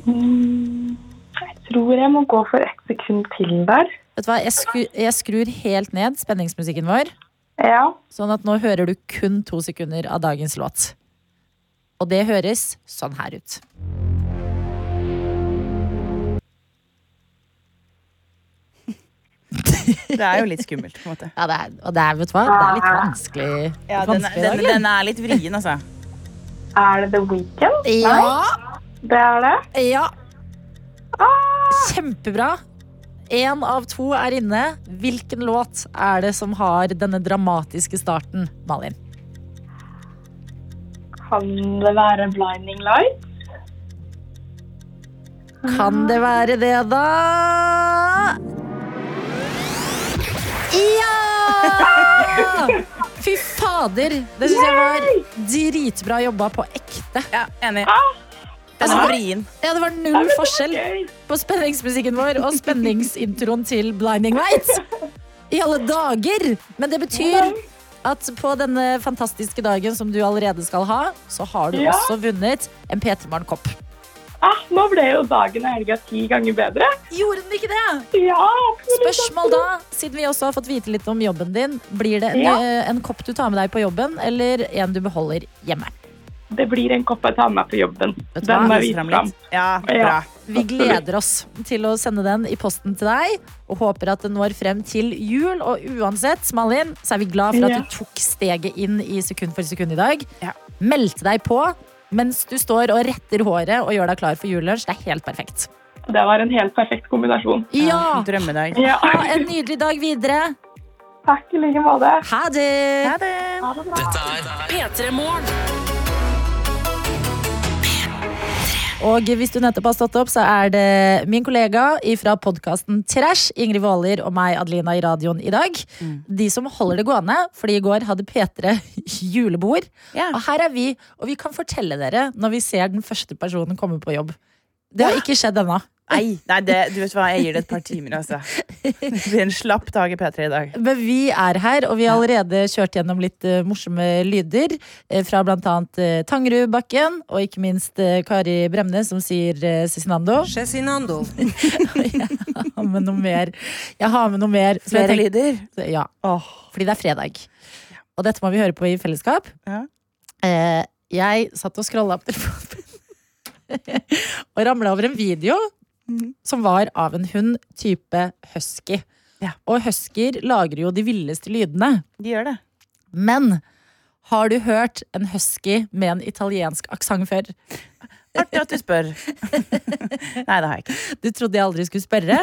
[SPEAKER 8] Mm, Jeg tror jeg må gå for ett sekund til der.
[SPEAKER 3] Vet du hva, jeg, skru, jeg skrur helt ned spenningsmusikken vår,
[SPEAKER 8] Ja.
[SPEAKER 3] sånn at nå hører du kun to sekunder av dagens låt. Og det høres sånn her ut.
[SPEAKER 4] Det er jo litt skummelt. på en måte.
[SPEAKER 3] Ja, det er, og det er, vet du hva, det er litt vanskelig, litt
[SPEAKER 4] Ja, den,
[SPEAKER 3] vanskelig i dag.
[SPEAKER 4] den, den er litt vrien, altså.
[SPEAKER 8] Er det The Weeknd?
[SPEAKER 3] Ja,
[SPEAKER 8] Det er det. Ah,
[SPEAKER 3] ja. Kjempebra. Én av to er inne. Hvilken låt er det som har denne dramatiske starten, Malin?
[SPEAKER 8] Kan det være Blinding Light?
[SPEAKER 3] Kan det være det, da? Ja! Fy fader! Det syns jeg var dritbra jobba på ekte.
[SPEAKER 4] Ja, Enig. Den er vrien.
[SPEAKER 3] Ja, det var null forskjell på spenningsmusikken vår og spenningsintroen til Blinding Lights. I alle dager! Men det betyr at på denne fantastiske dagen som du allerede skal ha, så har du
[SPEAKER 8] Ja.
[SPEAKER 3] også vunnet en P3morgen-kopp.
[SPEAKER 8] Ah, nå ble jo dagen og helga ti ganger bedre.
[SPEAKER 3] Gjorde den ikke det?
[SPEAKER 8] Ja, absolutt.
[SPEAKER 3] Spørsmål da, siden vi også har fått vite litt om jobben din. Blir det en,
[SPEAKER 8] Ja.
[SPEAKER 3] eh, en kopp du tar med deg på jobben, eller en du beholder hjemme?
[SPEAKER 8] Det blir en kopp jeg tar med på jobben.
[SPEAKER 3] Vet du hva?
[SPEAKER 8] Den må jeg
[SPEAKER 4] Viser
[SPEAKER 8] vise
[SPEAKER 4] frem
[SPEAKER 8] fram.
[SPEAKER 4] litt. Ja, bra.
[SPEAKER 3] Vi gleder oss til å sende den i posten til deg, og håper at den når frem til jul. Og uansett, Malin, så er vi glad for at
[SPEAKER 8] Ja.
[SPEAKER 3] du tok steget inn i sekund for sekund i dag.
[SPEAKER 4] Ja.
[SPEAKER 3] Meldte deg på mens du står og retter håret og gjør deg klar for julelunsj. Det er helt perfekt.
[SPEAKER 8] Det var en helt perfekt kombinasjon.
[SPEAKER 3] Ja!
[SPEAKER 4] Drømmedag.
[SPEAKER 8] Ja.
[SPEAKER 3] Ha en nydelig dag videre.
[SPEAKER 8] Takk i like måte.
[SPEAKER 3] Ha det!
[SPEAKER 4] Ha det.
[SPEAKER 8] Ha det bra.
[SPEAKER 2] P3 Morgen.
[SPEAKER 3] Og hvis du nettopp har stått opp, så er det min kollega fra podkasten Trash, Ingrid Waaler og meg, Adelina, i radioen i dag.
[SPEAKER 4] Mm.
[SPEAKER 3] De som holder det gående, fordi i går hadde P3 julebord.
[SPEAKER 4] Ja.
[SPEAKER 3] Og her er vi, og vi kan fortelle dere når vi ser den første personen komme på jobb. Det har ikke skjedd ennå.
[SPEAKER 4] Nei, nei det, du vet hva, jeg gir det et par timer, altså. Det blir en slapp dag i P3 i dag.
[SPEAKER 3] Men vi er her, og vi har allerede kjørt gjennom litt eh, morsomme lyder. eh, fra blant annet eh, Tangerudbakken, og ikke minst eh, Kari Bremnes, som sier uh, Cezinando.
[SPEAKER 6] Cezinando.
[SPEAKER 3] Jeg har med noe mer. Jeg har med noe mer. Så jeg
[SPEAKER 4] Flere
[SPEAKER 3] tenkte-
[SPEAKER 4] lyder.
[SPEAKER 3] Ja,
[SPEAKER 4] Åh.
[SPEAKER 3] fordi det er fredag. Og dette må vi høre på i fellesskap.
[SPEAKER 4] Ja.
[SPEAKER 3] Eh, jeg satt og scrolla på telefonen og ramla over en video
[SPEAKER 4] Mhm.
[SPEAKER 3] som var av en hund type husky.
[SPEAKER 4] Ja.
[SPEAKER 3] Og huskyer lager jo de villeste lydene.
[SPEAKER 4] De gjør det.
[SPEAKER 3] Men har du hørt en husky med en italiensk aksent før?
[SPEAKER 4] Artig at du spør. nei, det har jeg ikke.
[SPEAKER 3] Du trodde jeg aldri skulle spørre.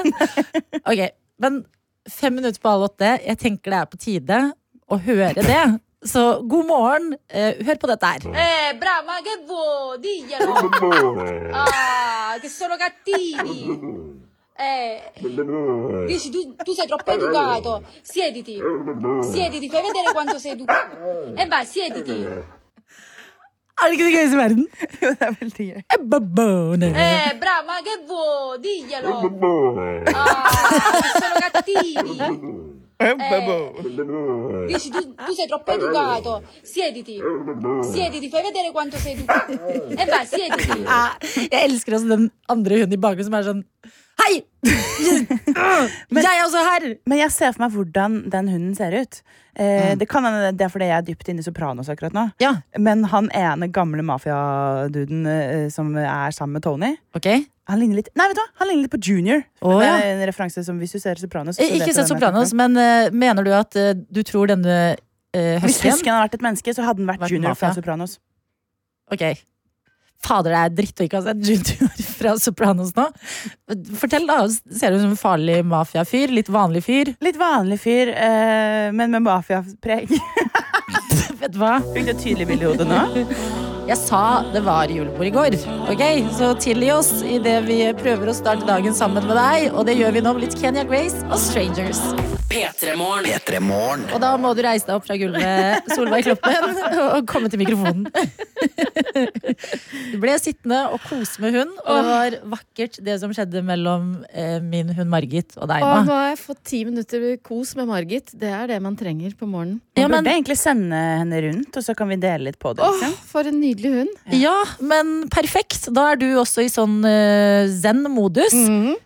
[SPEAKER 3] Ok, Men fem minutter på halv åtte. Jeg tenker det er på tide å høre det. Så god morgen. Eh, hør på dette her.
[SPEAKER 9] Eh, brava, ma che vuoi? Diglielo! Ah, che sono cattivi! Eh, dici, tu, tu sei troppo educato! Siediti!
[SPEAKER 10] eh.
[SPEAKER 9] Siediti, fai vedere quanto sei educato! E vai, siediti!
[SPEAKER 3] Er det ikke det gøyeste i verden?
[SPEAKER 4] Jo, det er veldig gøy.
[SPEAKER 3] Ebba Bone.
[SPEAKER 9] Eh, brava, ma che vuoi? Diglielo! Ah, che sono cattivi! Eh, dici, tu, tu sei troppo educato! Siediti! Siediti, fai vedere quanto sei educato! E vai, siediti!
[SPEAKER 3] Ah, Jeg elsker også den andre hunden i bakgrunnen som er sånn Hei! jeg er også her!
[SPEAKER 4] Men jeg ser for meg hvordan den hunden ser ut. Eh, det kan hende det er fordi jeg er dypt inne i Sopranos akkurat nå.
[SPEAKER 3] Mm. Ja,
[SPEAKER 4] Men han ene gamle mafiaduden eh, som er sammen med Tony
[SPEAKER 3] ok.
[SPEAKER 4] han ligner litt Nei, vet du hva? Han ligner litt på Junior.
[SPEAKER 3] Å,
[SPEAKER 4] det
[SPEAKER 3] ja.
[SPEAKER 4] er en referanse som Hvis du ser Sopranos så
[SPEAKER 3] Eh,
[SPEAKER 4] vet
[SPEAKER 3] Ikke
[SPEAKER 4] du
[SPEAKER 3] sett
[SPEAKER 4] hvem jeg snakker om.
[SPEAKER 3] Sopranos, men eh, mener du at eh, du tror denne uh,
[SPEAKER 4] Hvis
[SPEAKER 3] huskyen
[SPEAKER 4] Husken hadde vært et menneske, så hadde den vært
[SPEAKER 3] Vært
[SPEAKER 4] junior fra
[SPEAKER 3] mafia.
[SPEAKER 4] Sopranos.
[SPEAKER 3] Ok. Fader, det er dritt å ikke ha sett Junior fra Sopranos nå. Fortell, da. Ser du ut som en farlig mafiafyr? Litt vanlig fyr?
[SPEAKER 4] Litt vanlig fyr, eh, men med mafiapreg. Fikk
[SPEAKER 3] Vet du hva?
[SPEAKER 4] du et tydelig bilde i hodet nå?
[SPEAKER 3] Jeg sa det var julebord i går. Ok, Så tilgi oss idet vi prøver å starte dagen sammen med deg. Og det gjør vi nå med litt Kenya Grace og Strangers.
[SPEAKER 2] P3 Morgen.
[SPEAKER 1] P3 Morgen.
[SPEAKER 3] Og da må du reise deg opp fra gulvet, Solveig Kloppen, og komme til mikrofonen. Ble sittende og kose med hund, og det var vakkert det som skjedde mellom eh, min hund Margit og deg.
[SPEAKER 8] Og nå
[SPEAKER 3] Emma.
[SPEAKER 8] har jeg fått ti minutter kos med Margit. Det er det man trenger på morgenen.
[SPEAKER 3] Ja, men,
[SPEAKER 4] Burde egentlig sende henne rundt, og så kan vi dele litt på det.
[SPEAKER 8] Åh,
[SPEAKER 4] Liksom.
[SPEAKER 8] for en nydelig hund.
[SPEAKER 3] ja, men perfekt. Da er du også i sånn eh, zen-modus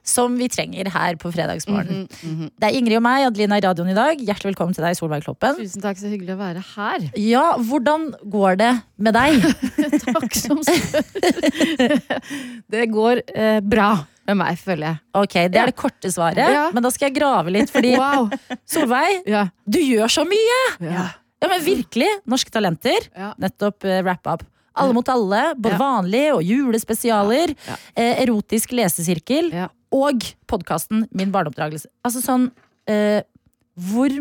[SPEAKER 3] som vi trenger her på fredagsmorgen. Det er Ingrid og meg, Adelina i radioen i dag. Hjertelig velkommen til deg, Solveig Kloppen.
[SPEAKER 8] Tusen takk, så hyggelig å være her.
[SPEAKER 3] Ja, hvordan går det med deg?
[SPEAKER 8] Takk som spør. Det går eh, bra med meg, føler jeg.
[SPEAKER 3] Ok, Det er det korte svaret,
[SPEAKER 8] Ja.
[SPEAKER 3] men da skal jeg grave litt. Fordi
[SPEAKER 8] Wow.
[SPEAKER 3] Solveig,
[SPEAKER 8] Ja.
[SPEAKER 3] du gjør så mye!
[SPEAKER 8] Ja.
[SPEAKER 3] Ja, men virkelig, Norske Talenter.
[SPEAKER 8] Ja.
[SPEAKER 3] Nettopp eh, wrap-up. Alle mot alle, både
[SPEAKER 8] Ja.
[SPEAKER 3] vanlige og julespesialer.
[SPEAKER 8] Ja.
[SPEAKER 3] Eh, erotisk lesesirkel.
[SPEAKER 8] Ja.
[SPEAKER 3] Og podkasten Min barneoppdragelse. Altså sånn eh, hvor,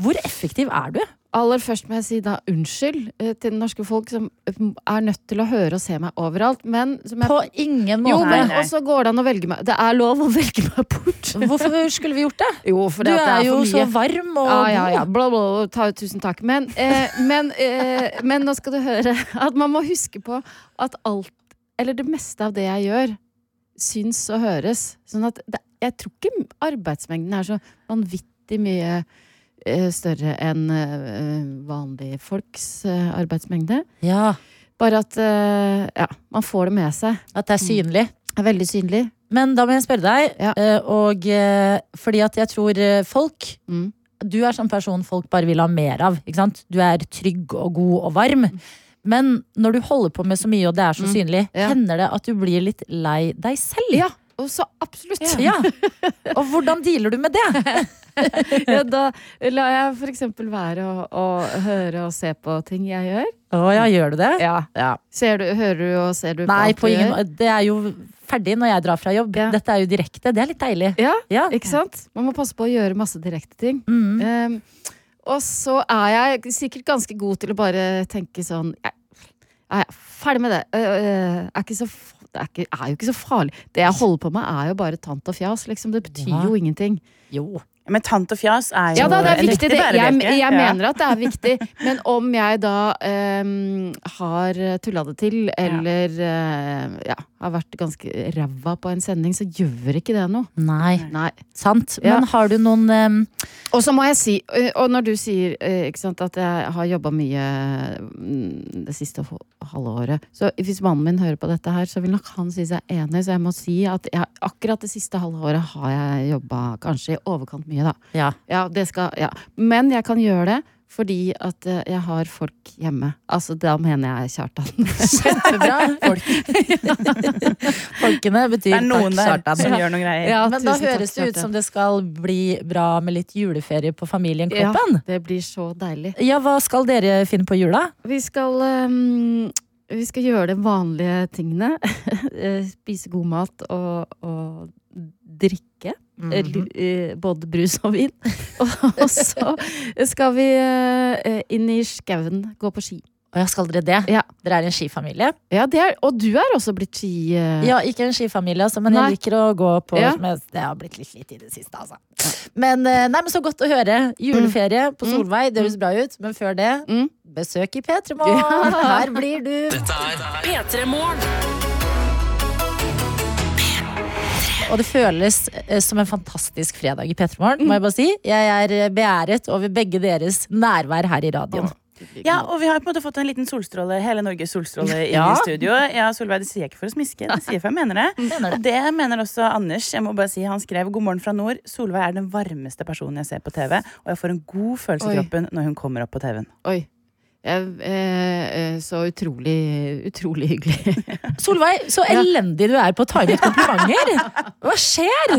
[SPEAKER 3] hvor effektiv er du?
[SPEAKER 8] Aller først må jeg si da unnskyld eh, til det norske folk som eh, er nødt til å høre og se meg overalt. Men som jeg
[SPEAKER 3] På ingen
[SPEAKER 8] jo,
[SPEAKER 3] måte.
[SPEAKER 8] men også går det an å velge meg Det er lov å velge meg bort.
[SPEAKER 3] Hvorfor skulle vi gjort det?
[SPEAKER 8] Jo, for
[SPEAKER 3] Du
[SPEAKER 8] det
[SPEAKER 3] er
[SPEAKER 8] er
[SPEAKER 3] jo
[SPEAKER 8] for
[SPEAKER 3] så
[SPEAKER 8] mye.
[SPEAKER 3] varm og
[SPEAKER 8] Ja, ja, ja.
[SPEAKER 3] god.
[SPEAKER 8] Bla, bla, bla. Ta, tusen takk. Men, eh, men, eh, men nå skal du høre at man må huske på at alt, eller det meste av det jeg gjør, syns og høres. Sånn at det, jeg tror ikke arbeidsmengden er så vanvittig mye eh, større enn eh, vanlige folks eh, arbeidsmengde.
[SPEAKER 3] Ja,
[SPEAKER 8] Bare at eh, ja, man får det med seg.
[SPEAKER 3] At det er synlig.
[SPEAKER 8] Det er veldig synlig.
[SPEAKER 3] Men da må jeg spørre deg,
[SPEAKER 8] Ja.
[SPEAKER 3] eh, og eh, fordi at jeg tror eh, folk
[SPEAKER 8] Mm.
[SPEAKER 3] Du er sånn person folk bare vil ha mer av. Ikke sant? Du er trygg og god og varm. Men når du holder på med så mye, og det er så synlig,
[SPEAKER 8] Ja.
[SPEAKER 3] hender det at du blir litt lei deg selv.
[SPEAKER 8] Ja, og så absolutt.
[SPEAKER 3] Ja. Og hvordan dealer du med det?
[SPEAKER 8] Ja, da lar jeg for eksempel være å, å høre og se på ting jeg gjør.
[SPEAKER 3] Å ja, gjør du det?
[SPEAKER 8] Ja. Ser du, hører du og ser du på
[SPEAKER 3] Nei,
[SPEAKER 8] alt
[SPEAKER 3] på
[SPEAKER 8] du
[SPEAKER 3] ingen
[SPEAKER 8] gjør?
[SPEAKER 3] måte. Det er jo ferdig når jeg drar fra jobb.
[SPEAKER 8] Ja.
[SPEAKER 3] Dette er jo direkte. Det er litt deilig.
[SPEAKER 8] Ja,
[SPEAKER 3] Ja.
[SPEAKER 8] ikke sant? Man må passe på å gjøre masse direkte ting.
[SPEAKER 3] Mm.
[SPEAKER 8] Ehm, og så er jeg sikkert ganske god til å bare tenke sånn Jeg, jeg er ferdig med det. Øh, øh, er ikke så, f- det er, ikke, er jo ikke så farlig. Det jeg holder på med, er jo bare tant og fjas. Liksom. Det betyr
[SPEAKER 3] Ja.
[SPEAKER 8] jo ingenting.
[SPEAKER 3] Jo.
[SPEAKER 4] Men tant og fjas er jo
[SPEAKER 8] Ja da, det er
[SPEAKER 4] en
[SPEAKER 8] viktig.
[SPEAKER 4] riktig
[SPEAKER 8] Det, jeg,
[SPEAKER 4] bærebjelke.
[SPEAKER 8] jeg
[SPEAKER 4] Ja.
[SPEAKER 8] mener at det er viktig. Men om jeg da ehm, har tulla det til, eller eh, ja, har vært ganske ræva på en sending, så gjør ikke det noe.
[SPEAKER 3] Nei.
[SPEAKER 8] Nei.
[SPEAKER 3] Sant.
[SPEAKER 8] Ja.
[SPEAKER 3] Men har du noen em,
[SPEAKER 8] Og så må jeg si, eh, og når du sier eh, ikke sant, at jeg har jobba mye mm, det siste ho- halve året Så hvis mannen min hører på dette her, så vil nok han si seg enig, så jeg må si at jeg, akkurat det siste halve året har jeg jobba kanskje i overkant mye, da.
[SPEAKER 3] Ja.
[SPEAKER 8] Ja, det skal, ja. Men jeg kan gjøre det fordi at eh, jeg har folk hjemme. Altså, da mener jeg Kjartan.
[SPEAKER 3] Kjempebra. Folkene betyr
[SPEAKER 4] Det er noen
[SPEAKER 3] takk,
[SPEAKER 4] der
[SPEAKER 3] Kjartan.
[SPEAKER 4] som gjør noen greier.
[SPEAKER 8] Ja,
[SPEAKER 3] Men da
[SPEAKER 8] tusen takk,
[SPEAKER 3] høres det ut
[SPEAKER 8] Kjartan.
[SPEAKER 3] som det skal bli bra med litt juleferie på familien
[SPEAKER 8] ja,
[SPEAKER 3] Kloppen.
[SPEAKER 8] Det blir så deilig.
[SPEAKER 3] Ja, hva skal dere finne på jula?
[SPEAKER 8] Vi skal, ehm, vi skal gjøre de vanlige tingene. Eh, Spise god mat og, og drikke. Eh, li- eh, Både brus og vin. Og, og så skal vi eh, inn i skauen, gå på ski.
[SPEAKER 3] Å ja, skal dere det?
[SPEAKER 8] Ja.
[SPEAKER 3] Dere er en skifamilie?
[SPEAKER 8] Ja, det er, og du er også blitt ski... eh,
[SPEAKER 3] Ja, ikke en skifamilie, altså, men
[SPEAKER 8] Nei.
[SPEAKER 3] jeg liker å gå på
[SPEAKER 8] Ja.
[SPEAKER 3] men Det har blitt litt slitt i det siste, altså. Men, eh, nei, men så godt å høre. Juleferie på Solveig, det høres bra ut. Men før det,
[SPEAKER 8] Mm.
[SPEAKER 3] besøk i P3 Morgen. Her blir du
[SPEAKER 1] P3 Morgen.
[SPEAKER 3] Og det føles eh, som en fantastisk fredag i P3 Morgen,
[SPEAKER 8] Mm.
[SPEAKER 3] må jeg bare si. Jeg er eh, beæret over begge deres nærvær her i radioen.
[SPEAKER 4] Ja, og vi har på en måte fått en liten solstråle, hele Norges solstråle inn
[SPEAKER 3] Ja.
[SPEAKER 4] i studio. Ja, Solveig, det sier jeg ikke for å smiske, det sier jeg for jeg mener det.
[SPEAKER 3] Mener
[SPEAKER 4] Og det mener også Anders. Jeg må bare si, Han skrev 'God morgen fra nord'. Solveig er den varmeste personen jeg ser på TV, og jeg får en god følelse
[SPEAKER 8] Oi.
[SPEAKER 4] i kroppen når hun kommer opp på TV-en.
[SPEAKER 8] Oi. Jeg, eh, eh, så utrolig, utrolig hyggelig.
[SPEAKER 3] Solveig, så elendig du er på å ta imot komplimenter! Hva skjer?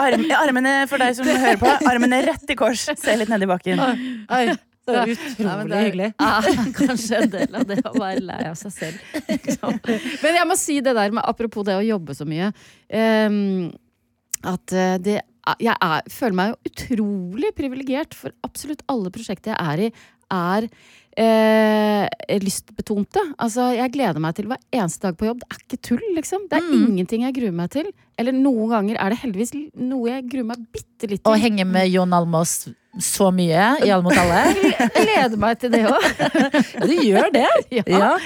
[SPEAKER 4] Arm, armene for deg som hører på, armene rett i kors. Se litt ned i bakken.
[SPEAKER 3] Så
[SPEAKER 8] Ja. Nei, men
[SPEAKER 3] utrolig
[SPEAKER 8] det er-
[SPEAKER 3] hyggelig.
[SPEAKER 8] Ah, kanskje en del av det å være lei av seg selv. Liksom. Men jeg må si det der med apropos det å jobbe så mye. ehm, at eh, det er- Jeg er, føler meg jo utrolig privilegert, for absolutt alle prosjekter jeg er i, er eh,
[SPEAKER 3] Mm.
[SPEAKER 8] lystbetonte. Altså, jeg gleder meg til hver eneste dag på jobb. Det er ikke tull, liksom. Det er ingenting jeg gruer meg til.
[SPEAKER 10] Eller noen ganger er det heldigvis l- noe jeg gruer meg bitte litt
[SPEAKER 3] Å
[SPEAKER 10] til.
[SPEAKER 3] henge med Jon Almaas så mye i Alle mot alle.
[SPEAKER 10] Jeg gleder meg til det òg.
[SPEAKER 3] Ja, du gjør det. Ja.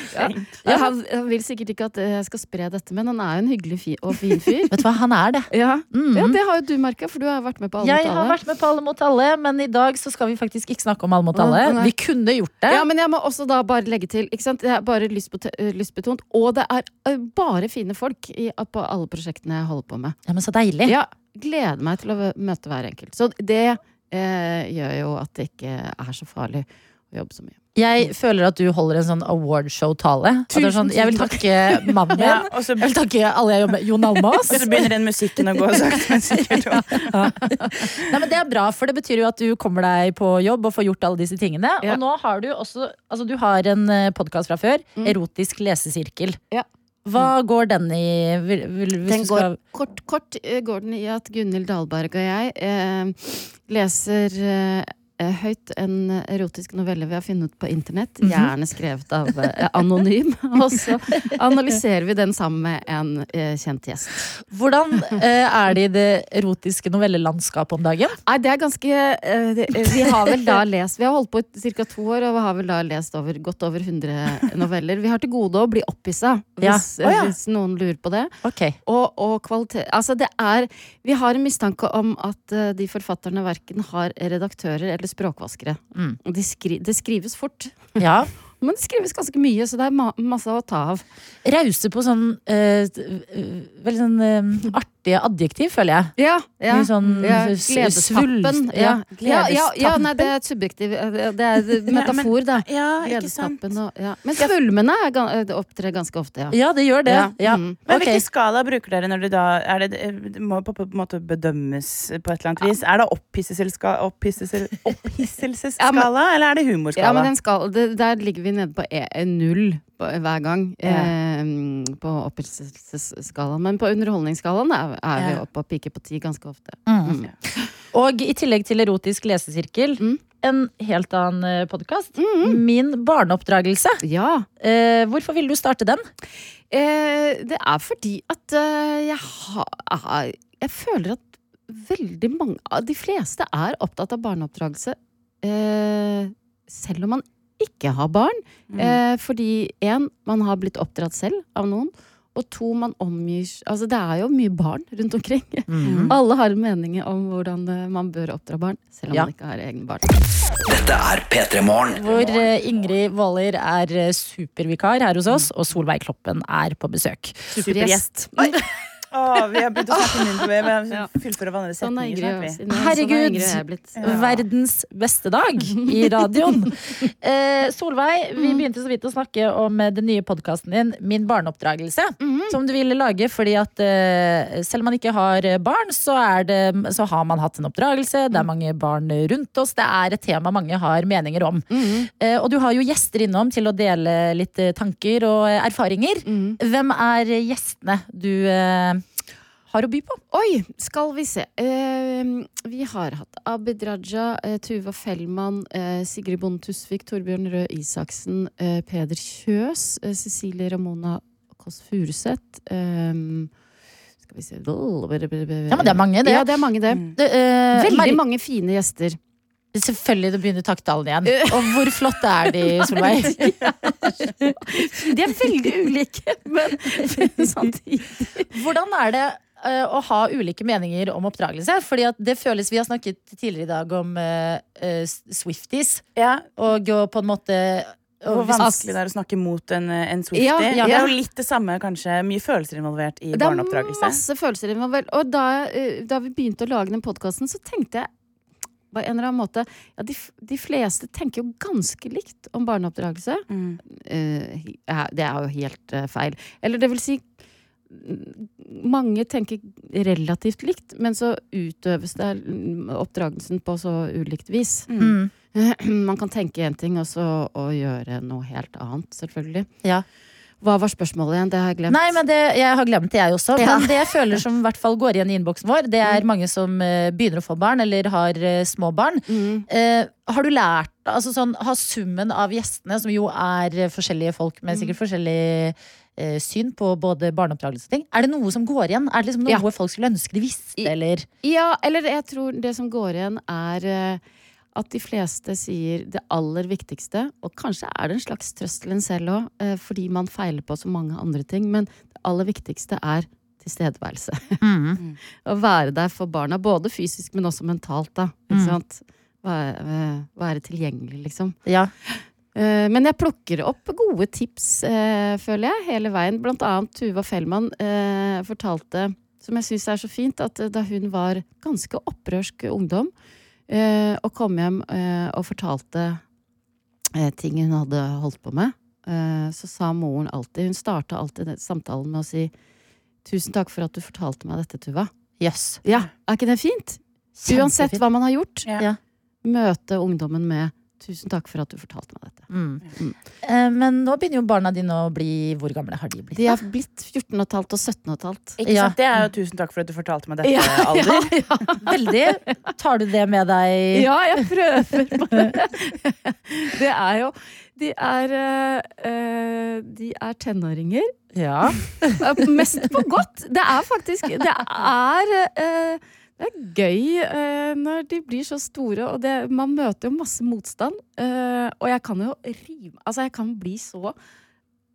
[SPEAKER 10] Han, han vil sikkert ikke at jeg skal spre dette, men han er jo en hyggelig fi og fin fyr.
[SPEAKER 3] Vet du hva, han er det.
[SPEAKER 10] Ja.
[SPEAKER 3] Mm.
[SPEAKER 10] ja, det har jo du merka, for du har vært med på alle
[SPEAKER 3] Jeg
[SPEAKER 10] mot
[SPEAKER 3] har
[SPEAKER 10] alle.
[SPEAKER 3] vært med på Alle mot alle, men i dag så skal vi faktisk ikke snakke om Alle mot alle.
[SPEAKER 10] Å, nei.
[SPEAKER 3] Vi kunne gjort det.
[SPEAKER 10] Ja, men jeg må også da bare legge til. Ikke sant? Det er bare lystbete- øh, lystbetont. Og det er øh, bare fine folk i, på alle prosjektene jeg holder på med.
[SPEAKER 3] Ja, men så deilig.
[SPEAKER 10] Ja, gleder meg til å v- møte hver enkelt. Så det eh, gjør jo at det ikke er så farlig å jobbe så mye.
[SPEAKER 3] Jeg føler at du holder en sånn awardshow-tale. At det er Sånn, jeg vil takke mannen min.
[SPEAKER 4] Ja, og så
[SPEAKER 3] Jeg vil takke alle jeg jobber med. Jon Almaas.
[SPEAKER 4] og så begynner den musikken å gå sakte, men sikkert. opp.
[SPEAKER 3] Nei, men Det er bra, for det betyr jo at du kommer deg på jobb og får gjort alle disse tingene.
[SPEAKER 10] Ja.
[SPEAKER 3] Og nå har du også altså du har en podkast fra før. Erotisk lesesirkel.
[SPEAKER 10] Mm. Ja. Mm.
[SPEAKER 3] Hva går den i? Vil, vil, hvis
[SPEAKER 10] Den
[SPEAKER 3] du skal...
[SPEAKER 10] går, kort, kort eh, går den i at Gunhild Dahlberg og jeg eh, leser eh, høyt en erotisk novelle vi har funnet på internett.
[SPEAKER 3] Mhm.
[SPEAKER 10] Gjerne skrevet av eh, anonym. Og så analyserer vi den sammen med en eh, kjent gjest.
[SPEAKER 3] Hvordan eh, er det i det erotiske novellelandskapet om dagen?
[SPEAKER 10] Nei, det er ganske eh, det, eh, Vi har vel da lest Vi har holdt på i ca. to år, og vi har vel da lest over, godt over 100 noveller. Vi har til gode å bli opphissa, hvis,
[SPEAKER 4] Ja. Å, ja.
[SPEAKER 10] hvis noen lurer på det.
[SPEAKER 3] Ok,
[SPEAKER 10] Og, og kvalitet Altså, det er Vi har en mistanke om at eh, de forfatterne verken har redaktører eller språkvaskere.
[SPEAKER 3] Mm.
[SPEAKER 10] Og de skri, det skrives fort,
[SPEAKER 3] ja
[SPEAKER 10] men det skrives ganske mye, så det er ma masse å ta av.
[SPEAKER 3] Rause på sånn eh, veldig sånn eh, artige adjektiv, føler jeg.
[SPEAKER 10] Ja, ja.
[SPEAKER 3] Mye sånn
[SPEAKER 10] Ja,
[SPEAKER 3] s-
[SPEAKER 10] gledestappen.
[SPEAKER 3] svulst-
[SPEAKER 10] Ja. Ja, ja, ja,
[SPEAKER 3] gledestappen.
[SPEAKER 10] nei, det er et subjektiv eh, Det er et metafor, da.
[SPEAKER 4] Ja, ikke sant.
[SPEAKER 10] Gledestappen og ja. Men svulmene er gan- eh, opptrer ganske ofte, ja.
[SPEAKER 3] Ja, det gjør det. Ja.
[SPEAKER 10] Mm.
[SPEAKER 4] Men
[SPEAKER 3] Ok.
[SPEAKER 4] hvilken skala bruker dere når du da er det, det må på, på en måte bedømmes på et eller annet vis? Er det opphisselsesskala,
[SPEAKER 10] Ja, men-
[SPEAKER 4] eller er det
[SPEAKER 10] Ja, men
[SPEAKER 4] humorskala?
[SPEAKER 10] den skal, det, der ligger vi nede på e null på, hver gang. Eh, på opphisselsesskalaen. Men på underholdningsskalaen er, er vi
[SPEAKER 4] Ja.
[SPEAKER 10] oppe og piker på ti ganske ofte.
[SPEAKER 3] Mm. Og i tillegg til erotisk lesesirkel,
[SPEAKER 10] Mm.
[SPEAKER 3] en helt annen podkast. Min barneoppdragelse.
[SPEAKER 10] Ja.
[SPEAKER 3] Eh, hvorfor ville du starte den?
[SPEAKER 10] Eh, det er fordi at eh, jeg har Jeg føler at veldig mange ah, De fleste er opptatt av barneoppdragelse eh, selv om man ikke har barn. Eh, fordi én, man har blitt oppdratt selv av noen. Og to, man omgir Altså, det er jo mye barn rundt omkring.
[SPEAKER 4] Mm.
[SPEAKER 10] Alle har meninger om hvordan eh, man bør oppdra barn, selv om
[SPEAKER 3] Ja.
[SPEAKER 10] man ikke har egne barn.
[SPEAKER 1] Dette er P3 Morgen.
[SPEAKER 3] Hvor eh, Ingrid Waaler er eh, supervikar her hos oss, og Solveig Kloppen er på besøk.
[SPEAKER 10] Supergjest.
[SPEAKER 4] Å, vi har begynt å snakke mindre med,
[SPEAKER 10] Ja.
[SPEAKER 4] med fullføre hverandres
[SPEAKER 10] Sånn
[SPEAKER 4] setninger
[SPEAKER 10] er Ingrid.
[SPEAKER 4] snart, vi.
[SPEAKER 10] Sånn er
[SPEAKER 3] Herregud.
[SPEAKER 10] Ingrid og jeg blitt.
[SPEAKER 4] Ja.
[SPEAKER 3] Verdens beste dag i radioen. Eh, Solveig, vi begynte så vidt å snakke om eh, den nye podkasten din, Min barneoppdragelse, som du ville lage fordi at eh, selv om man ikke har eh, barn, så, er det, så har man hatt en oppdragelse, det er mange barn rundt oss, det er et tema mange har meninger om. Eh, og du har jo gjester innom til å dele litt eh, tanker og eh, erfaringer. Hvem er eh, gjestene du eh, har å by på?
[SPEAKER 10] Oi, skal vi se. Eh, vi har hatt Abid Raja, eh, Tuva Fellmann, eh, Sigrid Bonde Tusvik, Torbjørn Røe Isaksen, eh, Peder Kjøs, eh, Cecilie Ramona Kåss Furuseth. Eh, skal vi se
[SPEAKER 3] Ja, men det er mange, det.
[SPEAKER 10] Ja, det er mange, det.
[SPEAKER 3] Det, eh,
[SPEAKER 10] Veldig
[SPEAKER 3] Mari-
[SPEAKER 10] mange fine gjester.
[SPEAKER 3] Selvfølgelig, det begynner takttalen igjen. Og hvor flotte er de, Solveig?
[SPEAKER 10] De er veldig ulike, men samtidig
[SPEAKER 3] Hvordan er det eh, å ha ulike meninger om oppdragelse? Fordi at det føles, Vi har snakket tidligere i dag om eh, eh, Swifties,
[SPEAKER 4] Ja,
[SPEAKER 3] og å på en måte og
[SPEAKER 4] Hvor
[SPEAKER 3] hvis-
[SPEAKER 4] vanskelig det er å snakke mot en, eh, en Swifty.
[SPEAKER 10] Ja, ja.
[SPEAKER 4] Det er jo litt det samme, kanskje. Mye følelser involvert i
[SPEAKER 10] Det er
[SPEAKER 4] barneoppdragelse.
[SPEAKER 10] masse følelser involvert. Og da, eh, da vi begynte å lage den podkasten, så tenkte jeg på en eller annen måte ja, de, f- de fleste tenker jo ganske likt om barneoppdragelse.
[SPEAKER 4] Mm.
[SPEAKER 10] Eh, he- eh, det er jo helt eh, feil. Eller det vil si mm, mange tenker relativt likt, men så utøves det mm, oppdragelsen på så ulikt vis.
[SPEAKER 3] Mm.
[SPEAKER 10] Man kan tenke én ting og så og gjøre noe helt annet, selvfølgelig.
[SPEAKER 3] Ja.
[SPEAKER 10] Hva var spørsmålet igjen? Det har jeg glemt.
[SPEAKER 3] Nei, men det, Jeg har glemt det, jeg også.
[SPEAKER 10] Ja.
[SPEAKER 3] Men det jeg føler som i hvert fall går igjen i innboksen vår, det
[SPEAKER 4] Mm.
[SPEAKER 3] er mange som eh, begynner å få barn, eller har eh, små barn.
[SPEAKER 10] mm.
[SPEAKER 3] Eh, har du lært altså sånn, Har summen av gjestene, som jo er eh, forskjellige folk med sikkert forskjellig eh, syn på både barneoppdragelse og ting. Er det noe som går igjen? Er det liksom noe
[SPEAKER 10] Ja.
[SPEAKER 3] folk skulle ønske de visste,
[SPEAKER 10] I-
[SPEAKER 3] eller?
[SPEAKER 10] Ja, eller jeg tror det som går igjen er eh, at de fleste sier det aller viktigste, og kanskje er det en slags trøst til en selv òg, fordi man feiler på så mange andre ting, men det aller viktigste er tilstedeværelse.
[SPEAKER 3] Mm.
[SPEAKER 10] Å være der for barna, både fysisk, men også mentalt, da. Ikke
[SPEAKER 3] Mm.
[SPEAKER 10] sant? Være, eh, være tilgjengelig, liksom.
[SPEAKER 3] Ja.
[SPEAKER 10] Eh, Men jeg plukker opp gode tips, eh, føler jeg, hele veien. Blant annet Tuva Fellmann eh, fortalte, som jeg syns er så fint, at eh, da hun var ganske opprørsk ungdom, eh, og kom hjem eh, og fortalte eh, ting hun hadde holdt på med, eh, så sa moren alltid Hun starta alltid den samtalen med å si 'Tusen takk for at du fortalte meg dette, Tuva'.
[SPEAKER 3] Jøss.
[SPEAKER 10] Ja, Er ikke det fint? Uansett hva man har gjort,
[SPEAKER 4] Ja.
[SPEAKER 3] Ja.
[SPEAKER 10] møte ungdommen med 'Tusen takk for at du fortalte meg dette'.
[SPEAKER 3] Mm.
[SPEAKER 10] Mm.
[SPEAKER 3] Eh, Men nå begynner jo barna dine å bli Hvor gamle har de blitt?
[SPEAKER 10] De er blitt 14 og et halvt og 17 og et halvt.
[SPEAKER 4] Ikke
[SPEAKER 3] Ja.
[SPEAKER 4] sant? Det er jo tusen takk for at du fortalte meg dette, Alder.
[SPEAKER 3] Veldig. Tar du det med deg?
[SPEAKER 10] Ja, jeg prøver på det. Det er jo De er, eh, eh, de er tenåringer.
[SPEAKER 3] Ja.
[SPEAKER 10] Eh, Mest på godt. Det er faktisk Det er, eh, det er gøy eh, når de blir så store, og det, man møter jo masse motstand. eh, og jeg kan jo rive Altså, jeg kan bli så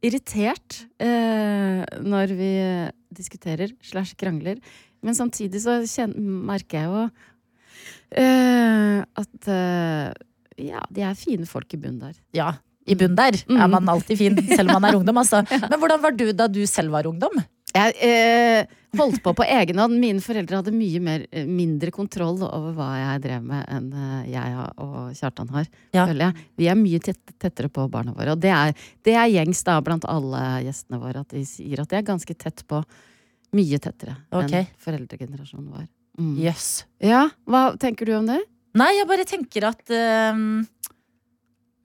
[SPEAKER 10] irritert eh, når vi diskuterer slash krangler. Men samtidig så kjen- merker jeg jo eh, at eh, ja, de er fine folk i bunnen der.
[SPEAKER 3] Ja, I bunnen der er
[SPEAKER 10] Mm.
[SPEAKER 3] man alltid fin, selv om man er ungdom. Altså. Men hvordan var du da du selv var ungdom?
[SPEAKER 10] Jeg eh, holdt på på egen hånd. Mine foreldre hadde mye mer, eh, mindre kontroll over hva jeg drev med, enn eh, jeg har- og Kjartan har.
[SPEAKER 3] Ja.
[SPEAKER 10] Føler jeg. Vi er mye tett, tettere på barna våre. Og det er, det er gjengs da blant alle gjestene våre at de sier at de er ganske tett på. Mye tettere enn
[SPEAKER 3] Ok.
[SPEAKER 10] foreldregenerasjonen var. Mm.
[SPEAKER 3] Jøss.
[SPEAKER 10] Ja, hva tenker du om det?
[SPEAKER 3] Nei, jeg bare tenker at ehm,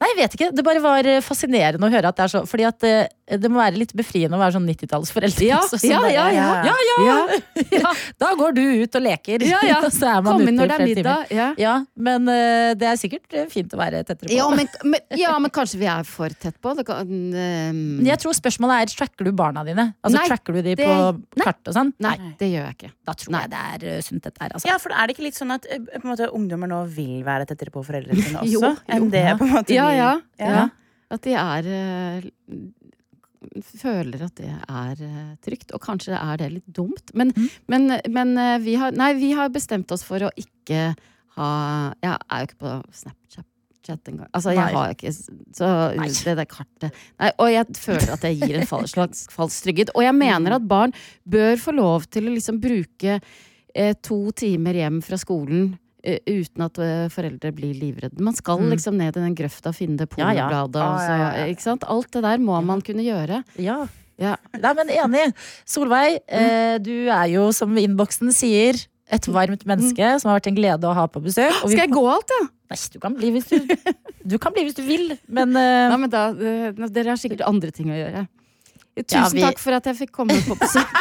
[SPEAKER 3] Nei, jeg vet ikke. Det bare var eh, fascinerende å høre at det er så Fordi at eh, det må være litt befriende å være sånn 90-tallsforelder.
[SPEAKER 10] Ja,
[SPEAKER 3] også, som
[SPEAKER 10] ja,
[SPEAKER 3] bare-
[SPEAKER 10] ja,
[SPEAKER 4] ja.
[SPEAKER 3] eh, ja, ja.
[SPEAKER 10] Ja.
[SPEAKER 3] Da går du ut og leker,
[SPEAKER 10] Ja, ja.
[SPEAKER 3] og så er man
[SPEAKER 10] Kom
[SPEAKER 3] ute i
[SPEAKER 10] inn når det er
[SPEAKER 3] flere timer.
[SPEAKER 10] middag. Ja.
[SPEAKER 3] Ja, men eh, det er sikkert eh, fint å være tettere på.
[SPEAKER 10] Ja, men, men, ja, men kanskje vi er for tett på? Det kan, ehm,
[SPEAKER 3] Men jeg tror spørsmålet er tracker du barna dine? Altså
[SPEAKER 10] Nei,
[SPEAKER 3] Tracker du de
[SPEAKER 10] det-
[SPEAKER 3] på
[SPEAKER 10] nei.
[SPEAKER 3] kart og sånn?
[SPEAKER 10] nei, det gjør jeg ikke.
[SPEAKER 3] Da tror jeg det er eh, sunt, dette her. Altså.
[SPEAKER 4] Ja, for er det ikke litt sånn at eh, på en måte, ungdommer nå vil være tettere på foreldrene sine også?
[SPEAKER 10] Jo, jo.
[SPEAKER 4] enn det på en måte
[SPEAKER 10] Ja,
[SPEAKER 4] vi-
[SPEAKER 10] ja.
[SPEAKER 4] Ja.
[SPEAKER 10] ja. At de er eh, Føler at det er eh, trygt. Og kanskje er det litt dumt. Men,
[SPEAKER 3] Mm.
[SPEAKER 10] men, men eh, vi har Nei, vi har bestemt oss for å ikke ha Jeg er jo ikke på Snapchat. chat engang. Altså,
[SPEAKER 3] Nei.
[SPEAKER 10] jeg har ikke så,
[SPEAKER 3] Nei.
[SPEAKER 10] det der kartet Nei, Og jeg føler at jeg gir en fal- slags falsk trygghet. Og jeg
[SPEAKER 3] Mm.
[SPEAKER 10] mener at barn bør få lov til å liksom bruke eh, to timer hjem fra skolen eh, uten at eh, foreldre blir livredde. Man skal
[SPEAKER 3] Mm.
[SPEAKER 10] liksom ned i den grøfta og finne det
[SPEAKER 3] Ja, ja.
[SPEAKER 10] pornobladet.
[SPEAKER 4] Ah,
[SPEAKER 10] og så-
[SPEAKER 4] ja, ja, ja.
[SPEAKER 10] Ikke sant? Alt det der må man kunne gjøre.
[SPEAKER 3] Ja.
[SPEAKER 10] Ja.
[SPEAKER 3] Nei, men enig. Solveig, eh, du er jo, som innboksen sier, et varmt menneske som har vært en glede å ha på besøk. Og vi,
[SPEAKER 10] Mm. Skal jeg gå alt, ja?
[SPEAKER 3] Nei, du kan bli hvis du, du kan bli hvis du vil, men eh,
[SPEAKER 10] Nei, men da, eh, dere har sikkert andre ting å gjøre. Tusen
[SPEAKER 3] Ja, vi-
[SPEAKER 10] takk for at jeg fikk komme på besøk.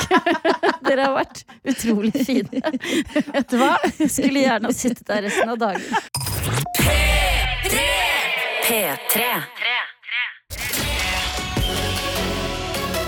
[SPEAKER 10] dere har vært utrolig fine. Vet du hva? Jeg skulle gjerne ha sittet der resten av dagen.
[SPEAKER 2] P3.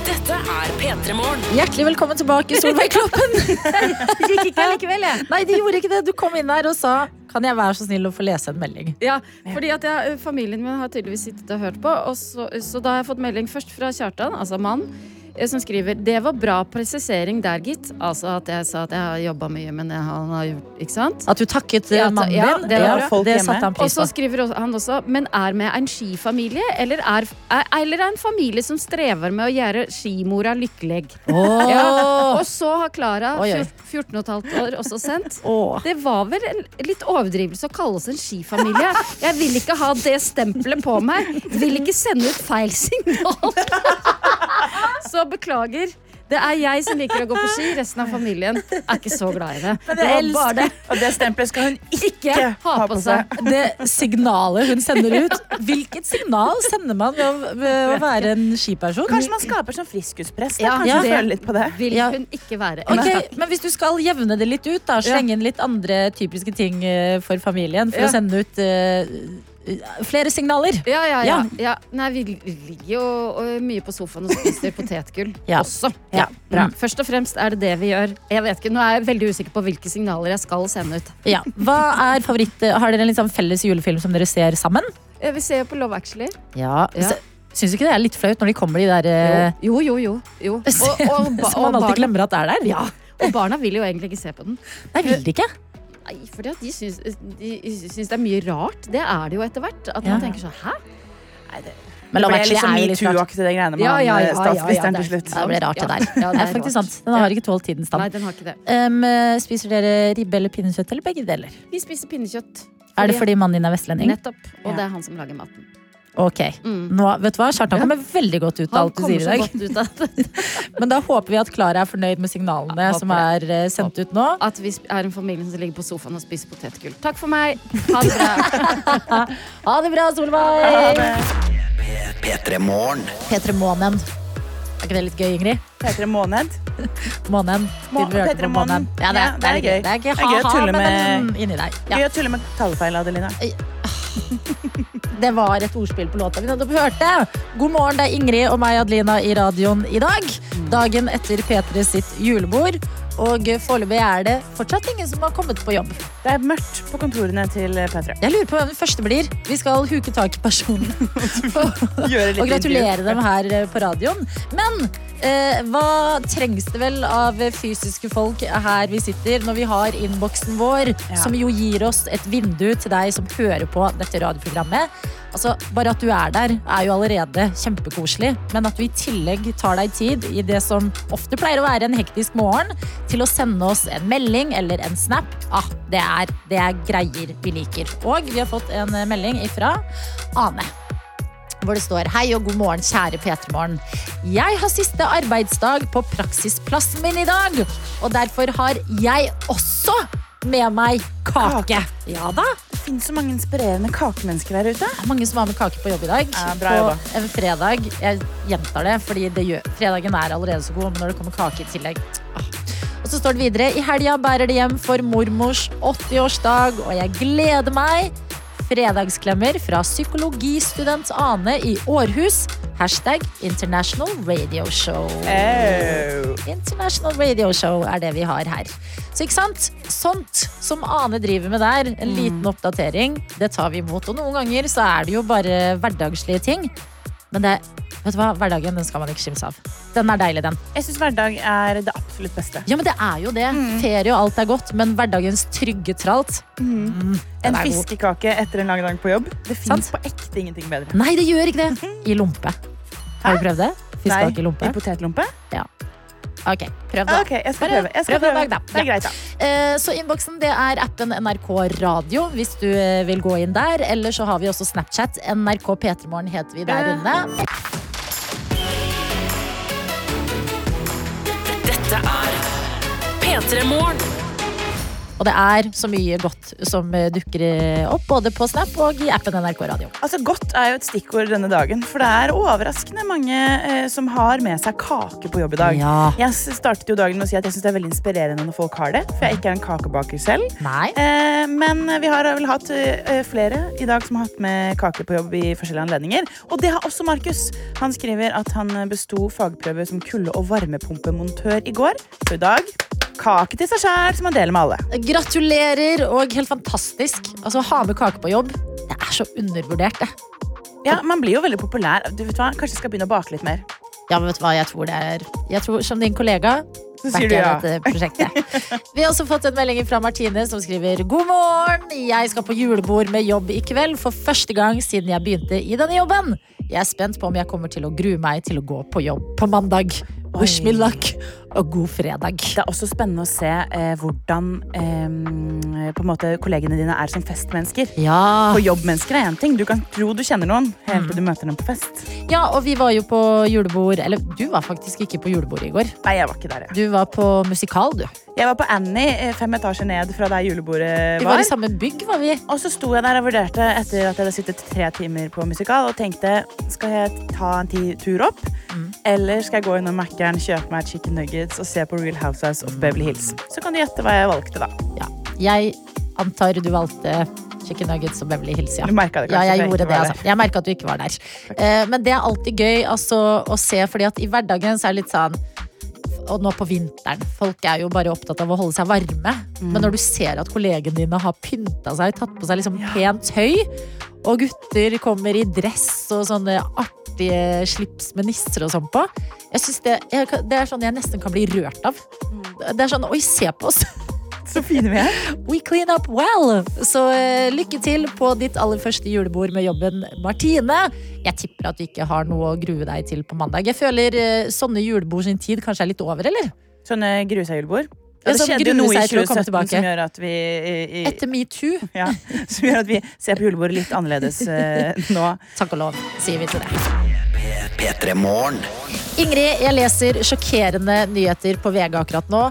[SPEAKER 2] Dette er P3 Morgen.
[SPEAKER 3] hjertelig velkommen tilbake, Solveig Kloppen.
[SPEAKER 10] Det gikk ikke likevel, jeg.
[SPEAKER 3] Nei, de gjorde ikke det. Du kom inn der og sa kan jeg være så snill å få lese en melding.
[SPEAKER 10] Ja, fordi at jeg, eh, familien min har tydeligvis sittet og hørt på. Og så, så da har jeg fått melding først fra Kjartan, altså mann, eh, som skriver Det var bra presisering der, gitt. Altså at jeg sa at jeg har jobba mye, men jeg, han har gjort Ikke sant?
[SPEAKER 3] At du takket eh,
[SPEAKER 10] Ja, ta-
[SPEAKER 3] mannen din,
[SPEAKER 10] ja, det var
[SPEAKER 3] Ja,
[SPEAKER 4] bra.
[SPEAKER 3] det satte han
[SPEAKER 10] Og
[SPEAKER 3] pris
[SPEAKER 10] så
[SPEAKER 3] på.
[SPEAKER 10] skriver også- han også Men er med en skifamilie, eller er, er, eller er en familie som strever med å gjøre skimora lykkelig?
[SPEAKER 3] Åh.
[SPEAKER 10] Ja. Og så har Klara,
[SPEAKER 3] Oi, oi.
[SPEAKER 10] 14 15 år, også sendt
[SPEAKER 3] Åh.
[SPEAKER 10] det var vel en litt overdrivelse å kalle oss en skifamilie. Jeg vil ikke ha det stempelet på meg. Vil ikke sende ut feil signal. Så beklager. Det er jeg som liker å gå på ski. Resten av familien er ikke så glad i det.
[SPEAKER 4] Men det
[SPEAKER 10] var bare det.
[SPEAKER 4] Og det stempelet skal hun
[SPEAKER 10] Ikke ha på seg.
[SPEAKER 3] det signalet hun sender ut Hvilket signal sender man ved å, ved å være en skiperson?
[SPEAKER 4] Kanskje man skaper sånn friskuspress? Da.
[SPEAKER 10] Ja,
[SPEAKER 4] Kanskje
[SPEAKER 3] ja.
[SPEAKER 4] hun føler litt på det?
[SPEAKER 10] Vil
[SPEAKER 3] Ja.
[SPEAKER 10] hun ikke være.
[SPEAKER 3] Ok, men hvis du skal jevne det litt ut, da, slenge inn litt andre typiske ting eh, for familien for
[SPEAKER 10] Ja.
[SPEAKER 3] å sende ut eh, eh, flere signaler.
[SPEAKER 10] Ja, ja, ja.
[SPEAKER 3] Ja.
[SPEAKER 10] ja. Nei, vi ligger jo eh, mye på sofaen og spiser potetgull
[SPEAKER 3] Ja.
[SPEAKER 10] også. Mm.
[SPEAKER 3] Ja, bra.
[SPEAKER 10] Først og fremst er det det vi gjør. Jeg vet ikke, Nå er jeg veldig usikker på hvilke signaler jeg skal sende ut.
[SPEAKER 3] Ja. Hva er favoritt... Har dere en liksom felles julefilm som dere ser sammen?
[SPEAKER 10] Eh, Vi ser jo på Love Actually.
[SPEAKER 3] Ja.
[SPEAKER 10] Ja.
[SPEAKER 3] Syns du ikke det er litt flaut når de kommer, de der eh,
[SPEAKER 10] Jo, jo, jo. jo. Og, og, ba-
[SPEAKER 3] Som man
[SPEAKER 10] og
[SPEAKER 3] alltid
[SPEAKER 10] barna,
[SPEAKER 3] glemmer at det er der?
[SPEAKER 10] Ja. og barna vil jo egentlig ikke se på den.
[SPEAKER 3] Nei, vil de ikke?
[SPEAKER 10] Nei, fordi at de syns, de syns det er mye rart. Det er det jo etter hvert. At
[SPEAKER 3] Ja.
[SPEAKER 10] man tenker sånn, hæ?
[SPEAKER 3] Men
[SPEAKER 4] Det
[SPEAKER 3] Love
[SPEAKER 4] ble
[SPEAKER 3] Actually
[SPEAKER 4] liksom
[SPEAKER 3] er jo litt rart.
[SPEAKER 4] metoo-aktig, de greiene med
[SPEAKER 10] Ja, ja, ja,
[SPEAKER 4] han, eh, statsministeren
[SPEAKER 10] ja, ja,
[SPEAKER 4] til slutt.
[SPEAKER 3] Ja, det ble rart, det
[SPEAKER 10] Ja.
[SPEAKER 3] der.
[SPEAKER 10] Ja, det
[SPEAKER 3] det
[SPEAKER 10] er
[SPEAKER 3] er faktisk
[SPEAKER 10] rart.
[SPEAKER 3] sant. Den har ikke tålt tidens
[SPEAKER 10] Nei,
[SPEAKER 3] tann.
[SPEAKER 10] den har ikke det.
[SPEAKER 3] Um, eh, spiser dere ribbe eller pinnekjøtt eller begge deler?
[SPEAKER 10] Vi spiser pinnekjøtt.
[SPEAKER 3] Er det fordi mannen din er vestlending?
[SPEAKER 10] Nettopp.
[SPEAKER 3] Ja.
[SPEAKER 10] Og det er han som lager maten.
[SPEAKER 3] Ok. Nå, vet du hva? Kjartan kommer veldig godt ut av
[SPEAKER 10] Han
[SPEAKER 3] alt du sier i
[SPEAKER 10] kommer så
[SPEAKER 3] dag.
[SPEAKER 10] godt ut av det.
[SPEAKER 3] Men da håper vi at Klara er fornøyd med signalene
[SPEAKER 10] Ja, håper
[SPEAKER 3] som er eh, sendt ut nå.
[SPEAKER 10] At vi sp- er en familie som ligger på sofaen og spiser potetgull. Takk for meg. Ha det bra.
[SPEAKER 3] Ha det bra, Solveig!
[SPEAKER 1] P3 Morgen.
[SPEAKER 3] P3 Månen. Er ikke det litt gøy, Ingrid?
[SPEAKER 4] P3 Måned.
[SPEAKER 3] Månen.
[SPEAKER 4] Må-
[SPEAKER 3] Siden vi hørte
[SPEAKER 4] P3
[SPEAKER 3] på
[SPEAKER 4] Månen.
[SPEAKER 3] Ja, det,
[SPEAKER 4] Ja,
[SPEAKER 3] er, det er gøy. Det er ikke
[SPEAKER 4] gøy å
[SPEAKER 3] ha-ha,
[SPEAKER 4] tulle
[SPEAKER 3] men
[SPEAKER 4] med-
[SPEAKER 3] mm, inni deg.
[SPEAKER 4] Gøy
[SPEAKER 3] Ja.
[SPEAKER 4] å tulle med tallfeil, Adelina.
[SPEAKER 3] Det var et ordspill på låta vi nettopp hørte. God morgen, det er Ingrid og meg, Adelina, i radioen i dag. Dagen etter P3 sitt julebord. Og foreløpig er det fortsatt ingen som har kommet på jobb.
[SPEAKER 4] Det er mørkt på kontorene til P3.
[SPEAKER 3] Jeg lurer på hvem den første blir. Vi skal huke tak i personen.
[SPEAKER 4] Gjøre litt
[SPEAKER 3] og gratulere
[SPEAKER 4] intervju.
[SPEAKER 3] dem her eh, på radioen. Men eh, hva trengs det vel av fysiske folk her vi sitter, når vi har innboksen vår,
[SPEAKER 4] Ja.
[SPEAKER 3] som jo gir oss et vindu til deg som hører på dette radioprogrammet? Altså, Bare at du er der, er jo allerede kjempekoselig. Men at du i tillegg tar deg tid i det som ofte pleier å være en hektisk morgen, til å sende oss en melding eller en snap, ah, det, er, det er greier vi liker. Og vi har fått en eh, melding ifra Ane hvor det står Hei og god morgen, kjære P3morgen. Jeg har siste arbeidsdag på praksisplassen min i dag, og derfor har jeg også med meg kake. Ja da.
[SPEAKER 4] Det finnes så mange inspirerende kakemennesker der ute.
[SPEAKER 3] Det er mange som har med kake på jobb i dag.
[SPEAKER 4] Ja, bra
[SPEAKER 3] på
[SPEAKER 4] jobba.
[SPEAKER 3] en fredag. Jeg gjentar det, fordi det gjør, fredagen er allerede så god, men når det kommer kake i tillegg ah. Og så står det videre I helga bærer det hjem for mormors 80-årsdag, og jeg gleder meg. Fredagsklemmer fra psykologistudent Ane i Århus. Hashtag International Radio Show. International Radio Show er det vi har her. Så ikke sant? Sånt som Ane driver med der, en liten oppdatering, det tar vi imot. Og noen ganger så er det jo bare hverdagslige ting. Men det, vet du hva? hverdagen den skal man ikke skimse av. Den er deilig, den.
[SPEAKER 4] Jeg syns hverdag er det absolutt beste.
[SPEAKER 3] Ja, men det er jo det. Ferie og alt er godt, men hverdagens trygge tralt
[SPEAKER 4] En
[SPEAKER 3] er god.
[SPEAKER 4] fiskekake etter en lang dag på jobb. Det fins
[SPEAKER 3] Sant.
[SPEAKER 4] på ekte ingenting bedre.
[SPEAKER 3] Nei, det gjør ikke det. I lompe. Har du prøvd det? Fiskekake i lompe?
[SPEAKER 4] I potetlompe?
[SPEAKER 3] Ok, prøv det.
[SPEAKER 4] Ok, jeg skal
[SPEAKER 3] Bare
[SPEAKER 4] prøve. Jeg skal
[SPEAKER 3] prøv en
[SPEAKER 4] prøve.
[SPEAKER 3] dag, da.
[SPEAKER 4] Det er
[SPEAKER 3] Ja.
[SPEAKER 4] greit, da.
[SPEAKER 3] Eh, Så innboksen det er appen NRK Radio hvis du eh, vil gå inn der. Eller så har vi også Snapchat. NRK P3morgen heter vi der inne.
[SPEAKER 2] Dette er P3 Morgen.
[SPEAKER 3] Og det er så mye godt som eh, dukker eh, opp både på Snap og i appen NRK Radio.
[SPEAKER 4] Altså, Godt er jo et stikkord denne dagen, for det er overraskende mange eh, som har med seg kake på jobb i dag.
[SPEAKER 3] Ja.
[SPEAKER 4] Jeg s- startet jo dagen med å si at jeg synes det er veldig inspirerende når folk har det, for jeg ikke er en kakebaker selv.
[SPEAKER 3] Nei.
[SPEAKER 4] Eh, men vi har vel hatt eh, flere i dag som har hatt med kake på jobb i forskjellige anledninger. Og det har også Markus. Han skriver at han besto fagprøve som kulde- og varmepumpemontør i går. Så i dag kake til seg sjæl, som han deler med alle.
[SPEAKER 3] Gratulerer, og helt fantastisk. Altså, ha med kake på jobb. Det er så undervurdert, det.
[SPEAKER 4] Ja, Man blir jo veldig populær. Du vet hva, Kanskje jeg skal begynne å bake litt mer.
[SPEAKER 3] Ja, men vet du hva jeg tror det er? Jeg tror, som din kollega,
[SPEAKER 4] Så
[SPEAKER 3] backer
[SPEAKER 4] sier du
[SPEAKER 3] jeg
[SPEAKER 4] ja.
[SPEAKER 3] dette prosjektet. Vi har også fått en melding fra Martine som skriver God morgen, jeg skal på julebord med jobb i kveld for første gang siden jeg begynte i denne jobben. Jeg er spent på om jeg kommer til å grue meg til å gå på jobb på mandag. Wish me luck og god fredag.
[SPEAKER 4] Det er også spennende å se eh, hvordan eh, på en måte kollegene dine er som festmennesker.
[SPEAKER 3] Ja.
[SPEAKER 4] På jobbmennesker er én ting. Du kan tro du kjenner noen helt til du møter dem på fest.
[SPEAKER 3] ja, og vi var jo på julebord Eller du var faktisk ikke på julebord i går.
[SPEAKER 4] Nei, jeg var ikke der, jeg.
[SPEAKER 3] Du var på musikal, du.
[SPEAKER 4] Jeg var på Annie eh, fem etasjer ned fra der julebordet
[SPEAKER 3] Vi var
[SPEAKER 4] var.
[SPEAKER 3] i samme bygg, var vi.
[SPEAKER 4] Og så sto jeg der og vurderte etter at jeg hadde sittet tre timer på musikal og tenkte skal jeg ta en ti tur opp, eller skal jeg gå innom Mækkern, kjøpe meg chicken nuggets og se på Real Mm. Housewives of Beverly Hills. Så kan du gjette hva jeg valgte, da.
[SPEAKER 3] Ja. Jeg antar du valgte chicken nuggets og Beverly Hills. Ja.
[SPEAKER 4] Du merket det kanskje,
[SPEAKER 3] Ja,
[SPEAKER 4] for
[SPEAKER 3] jeg
[SPEAKER 4] jeg
[SPEAKER 3] gjorde det.
[SPEAKER 4] ikke var
[SPEAKER 3] Altså. Jeg merka at du ikke var der. Eh, Men det er alltid gøy altså, å se, fordi at i hverdagen så er det litt sånn og nå på vinteren. Folk er jo bare opptatt av å holde seg varme.
[SPEAKER 4] Mm.
[SPEAKER 3] Men når du ser at kollegene dine har pynta seg, tatt på seg liksom pent høy, og gutter kommer i dress og sånne artige slips med nisser og sånn på jeg synes det, jeg, kan- det er sånn jeg nesten kan bli rørt av.
[SPEAKER 4] Mm.
[SPEAKER 3] Det er sånn Oi, se på oss!
[SPEAKER 4] Så fine vi er.
[SPEAKER 3] We clean up well! Så eh, lykke til på ditt aller første julebord med jobben, Martine. Jeg tipper at du ikke har noe å grue deg til på mandag. Jeg føler eh, sånne julebord sin tid kanskje er litt over, eller?
[SPEAKER 4] Sånne grusehjulbord.
[SPEAKER 3] Ja,
[SPEAKER 4] Ja, det
[SPEAKER 3] sånn
[SPEAKER 4] skjedde jo
[SPEAKER 3] grue
[SPEAKER 4] noe i
[SPEAKER 3] seg til å komme
[SPEAKER 4] 2017
[SPEAKER 3] tilbake.
[SPEAKER 4] som gjør at vi i, i,
[SPEAKER 3] Etter metoo.
[SPEAKER 4] ja, Som gjør at vi ser på julebordet litt annerledes eh, nå.
[SPEAKER 3] Takk og lov, sier vi til det.
[SPEAKER 1] P3 Morgen.
[SPEAKER 3] Ingrid, jeg leser sjokkerende nyheter på VG akkurat nå.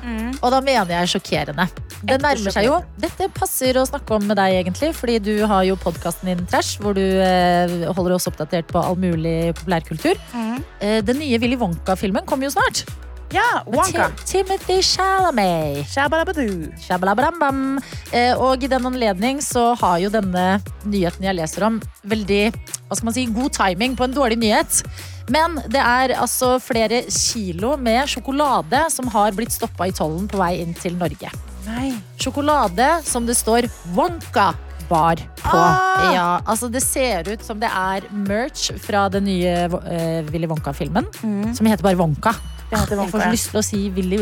[SPEAKER 3] Og da mener jeg sjokkerende. Det nærmer seg jo. Dette passer å snakke om med deg, egentlig. Fordi du har jo podkasten din Trash, hvor du eh, holder oss oppdatert på all mulig populærkultur. Eh, den nye Willy Wonka-filmen kommer jo snart.
[SPEAKER 4] Ja, Wonka.
[SPEAKER 3] Ti- Timothy Chalamet.
[SPEAKER 4] Shabalabadoo.
[SPEAKER 3] Shabalabalambam. Eh, Og i den anledning så har jo denne nyheten jeg leser om, veldig hva skal man si, god timing på en dårlig nyhet. Men det er altså flere kilo med sjokolade som har blitt stoppa i tollen på vei inn til Norge.
[SPEAKER 4] Nei.
[SPEAKER 3] Sjokolade som det står Wonka Bar på.
[SPEAKER 4] Ah!
[SPEAKER 3] Ja, altså det ser ut som det er merch fra den nye eh, Willy Wonka-filmen, som heter bare Wonka.
[SPEAKER 4] Mm. Det heter
[SPEAKER 3] Jeg får
[SPEAKER 4] Wonka.
[SPEAKER 3] så
[SPEAKER 4] ja.
[SPEAKER 3] lyst til å si Willy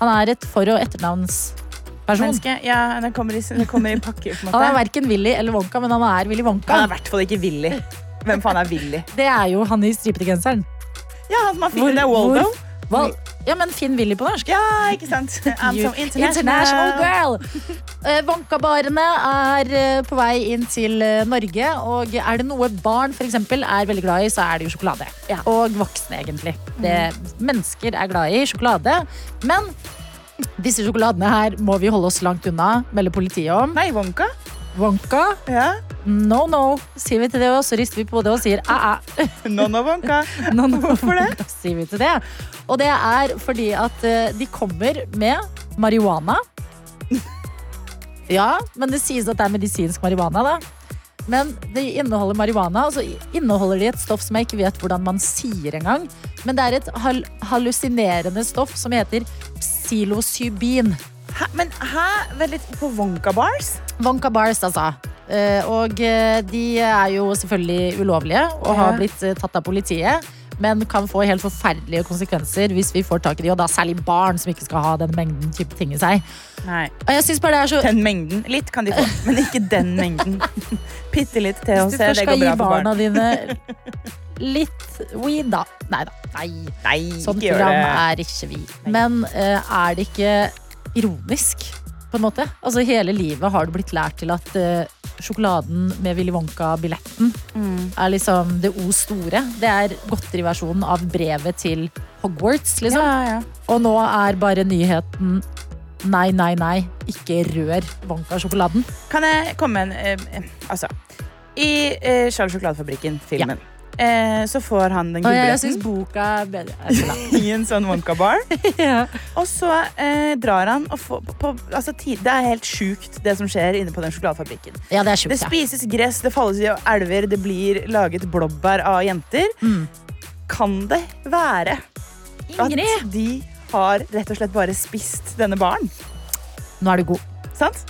[SPEAKER 3] Han er et for- og etternavnsperson.
[SPEAKER 4] Menneske, ja, den kommer i, den kommer i pakke. på en
[SPEAKER 3] Han er
[SPEAKER 4] måte.
[SPEAKER 3] verken Willy eller Wonka, men han er Willy
[SPEAKER 4] Han
[SPEAKER 3] Wonka.
[SPEAKER 4] er i hvert fall ikke Willy. Hvem faen er Willy?
[SPEAKER 3] Det er jo han i stripete genseren.
[SPEAKER 4] Ja, han som har
[SPEAKER 3] Hvor-
[SPEAKER 4] filmen. Det er Waldo.
[SPEAKER 3] hvor- Val- Ja, men Finn Willy på norsk.
[SPEAKER 4] Ja, ikke sant? I'm so international.
[SPEAKER 3] International girl! Eh, Wonka-barene er eh, på vei inn til eh, Norge, og er det noe barn for eksempel, er veldig glad i, så er det jo sjokolade. Og voksne, egentlig. Det mennesker er glad i sjokolade. Men disse sjokoladene her må vi holde oss langt unna, melde politiet om.
[SPEAKER 4] Nei, Wonka.
[SPEAKER 3] Wonka,
[SPEAKER 4] Ja.
[SPEAKER 3] no no, sier vi til det, og så rister vi på hodet og sier æ-æ.
[SPEAKER 4] Nono Wonka.
[SPEAKER 3] Nå, nå,
[SPEAKER 4] Hvorfor det?
[SPEAKER 3] sier vi til det? Og det er fordi at eh, de kommer med marihuana. Ja, men det sies at det er medisinsk marihuana, da. Men de inneholder marihuana, og så inneholder de et stoff som jeg ikke vet hvordan man sier engang. Men det er et hal hallusinerende stoff som heter psilocybin.
[SPEAKER 4] Hæ? Men hæ? Vent litt, på Wonka Bars?
[SPEAKER 3] Wonka Bars, altså. Eh, Og eh, de er jo selvfølgelig ulovlige og har
[SPEAKER 4] Ja.
[SPEAKER 3] blitt eh, tatt av politiet. Men kan få helt forferdelige konsekvenser hvis vi får tak i de, og da særlig barn som ikke skal ha den mengden type ting i seg.
[SPEAKER 4] Nei.
[SPEAKER 3] Og jeg synes bare det er så...
[SPEAKER 4] Den mengden. Litt kan de få, men ikke den mengden. Bitte
[SPEAKER 3] Hvis
[SPEAKER 4] litt THC,
[SPEAKER 3] du først
[SPEAKER 4] det går
[SPEAKER 3] skal gi
[SPEAKER 4] bra for
[SPEAKER 3] barna
[SPEAKER 4] barn.
[SPEAKER 3] dine litt weed, da. Nei da. Nei.
[SPEAKER 4] Nei,
[SPEAKER 3] Sånn
[SPEAKER 4] ikke gjør
[SPEAKER 3] program
[SPEAKER 4] det.
[SPEAKER 3] er ikke vi. Men eh, er det ikke ironisk, på en måte? Altså, hele livet har du blitt lært til at eh, sjokoladen med Willy Wonka-billetten
[SPEAKER 4] Mm.
[SPEAKER 3] er liksom det O store. Det er godteriversjonen av brevet til Hogwarts, liksom.
[SPEAKER 4] Ja, ja.
[SPEAKER 3] Og nå er bare nyheten Nei, nei, nei, ikke rør Wonka-sjokoladen.
[SPEAKER 4] Kan jeg komme med en eh, Altså. I eh, Charles Sjokoladefabrikken, filmen, eh, så får han den
[SPEAKER 3] Og jeg, jeg syns
[SPEAKER 4] gullbilletten
[SPEAKER 3] boka er bedre. Jeg skal la-
[SPEAKER 4] i en sånn Wonka Bar.
[SPEAKER 3] Ja.
[SPEAKER 4] Og så eh, drar han og får på, på, altså, ti- Det er helt sjukt, det som skjer inne på den sjokoladefabrikken.
[SPEAKER 3] ja, det er
[SPEAKER 4] Det
[SPEAKER 3] sjukt, ja.
[SPEAKER 4] spises gress, det falles i elver, det blir laget blåbær av jenter. Kan det være
[SPEAKER 3] Ingrid!
[SPEAKER 4] at de har rett og slett bare spist denne baren?
[SPEAKER 3] Nå er du god.
[SPEAKER 4] Sant?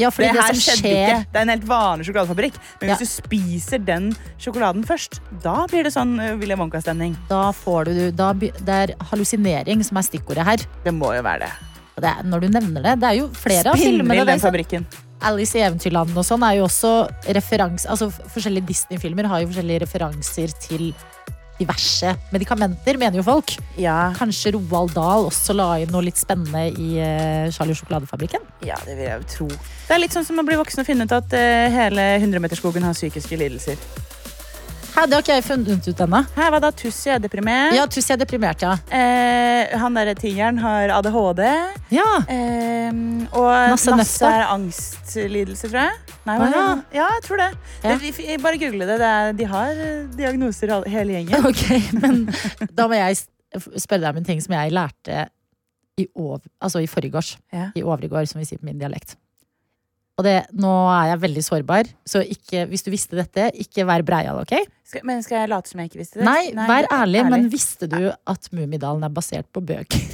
[SPEAKER 3] Ja, fordi
[SPEAKER 4] Det
[SPEAKER 3] det,
[SPEAKER 4] her
[SPEAKER 3] som
[SPEAKER 4] skjedde
[SPEAKER 3] skjer
[SPEAKER 4] ikke. Det er en helt vanlig sjokoladefabrikk. Men
[SPEAKER 3] Ja.
[SPEAKER 4] hvis du spiser den sjokoladen først, da blir det sånn eh, Willy Wonka-stemning.
[SPEAKER 3] da får du da, by- Det er hallusinering som er stikkordet her.
[SPEAKER 4] Det må jo være det.
[SPEAKER 3] Og det er, når du nevner det, det er jo flere av
[SPEAKER 4] Spinnvill,
[SPEAKER 3] filmene.
[SPEAKER 4] den
[SPEAKER 3] Der,
[SPEAKER 4] fabrikken.
[SPEAKER 3] Alice i Eventyrland og sånn er jo også referans... Altså f- forskjellige Disney-filmer har jo forskjellige referanser til diverse medikamenter, mener jo folk.
[SPEAKER 4] Ja,
[SPEAKER 3] Kanskje Roald Dahl også la inn noe litt spennende i eh, Charlie og sjokoladefabrikken?
[SPEAKER 4] ja, det vil jeg jo tro. Det er litt sånn som å bli voksen og finne ut at eh, hele 100-meterskogen har psykiske lidelser.
[SPEAKER 3] Hæ, det har ikke jeg funnet ut ennå.
[SPEAKER 4] Her var da Tussi er deprimert.
[SPEAKER 3] Ja, Tussi er deprimert, ja.
[SPEAKER 4] Eh, han derre tigeren har ADHD.
[SPEAKER 3] Ja,
[SPEAKER 4] Eh, og
[SPEAKER 3] Nasse
[SPEAKER 4] Nasse,
[SPEAKER 3] Nøfta.
[SPEAKER 4] er angstlidelse, tror jeg. Nei, hva
[SPEAKER 3] Å,
[SPEAKER 4] er det?
[SPEAKER 3] ja.
[SPEAKER 4] ja, jeg tror det.
[SPEAKER 3] Ja.
[SPEAKER 4] det vi- bare google det. det er, de har eh, diagnoser, alle- hele gjengen.
[SPEAKER 3] Ok, men da må jeg s- spørre deg om en ting som jeg lærte i, over, altså i forgårs.
[SPEAKER 4] Ja.
[SPEAKER 3] I overgårs, som vi sier på min dialekt. Og det, nå er jeg veldig sårbar, så ikke, hvis du visste dette, ikke vær breial, ok?
[SPEAKER 4] Skal, men skal jeg late som jeg ikke visste det?
[SPEAKER 3] Nei, vær ærlig, men
[SPEAKER 4] men
[SPEAKER 3] visste du at Mummidalen er basert på bøker?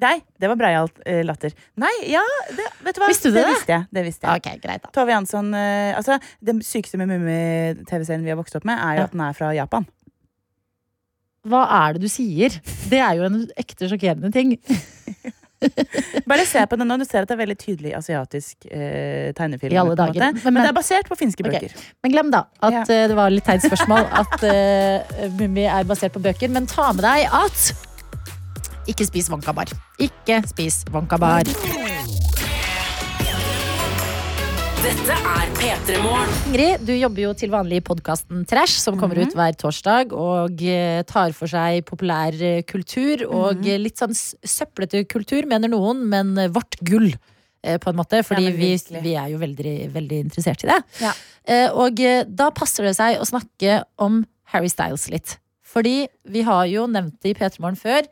[SPEAKER 4] Nei, det var breialt eh, latter. Nei, ja, det, vet du hva?
[SPEAKER 3] Visste du det?
[SPEAKER 4] visste jeg. Det visste jeg.
[SPEAKER 3] Ok, greit da.
[SPEAKER 4] Tove Jansson eh, altså, Den sykeste med Mummi-TV-serien vi har vokst opp med,
[SPEAKER 3] Ja.
[SPEAKER 4] er jo at den er fra Japan.
[SPEAKER 3] Hva er det du sier? Det er jo en ekte sjokkerende ting.
[SPEAKER 4] Bare se på den nå. Du ser at det er veldig tydelig asiatisk eh, tegnefilm.
[SPEAKER 3] I alle
[SPEAKER 4] på en
[SPEAKER 3] dager. Men-
[SPEAKER 4] måte. Men,
[SPEAKER 3] men-
[SPEAKER 4] det er basert på finske
[SPEAKER 3] Ok.
[SPEAKER 4] bøker.
[SPEAKER 3] Men glem da at
[SPEAKER 4] Ja.
[SPEAKER 3] eh, det var litt teit spørsmål at uh, Mummi er basert på bøker. Men ta med deg at ikke spis wonkabar. Ikke spis wonkabar.
[SPEAKER 2] Dette er P3 Morgen.
[SPEAKER 3] Ingrid, du jobber jo til vanlig i podkasten Trash, som kommer
[SPEAKER 4] Mhm.
[SPEAKER 3] ut hver torsdag og eh, tar for seg populær eh, kultur og
[SPEAKER 4] Mhm.
[SPEAKER 3] eh, litt sånn s- søplete kultur, mener noen, men eh, vårt gull. eh, På en måte, fordi
[SPEAKER 4] men
[SPEAKER 3] vi,
[SPEAKER 4] virkelig.
[SPEAKER 3] vi er jo veldig, veldig interessert i det.
[SPEAKER 4] Ja.
[SPEAKER 3] Eh, Og eh, da passer det seg å snakke om Harry Styles litt. Fordi vi har jo nevnt det i P3 Morgen før.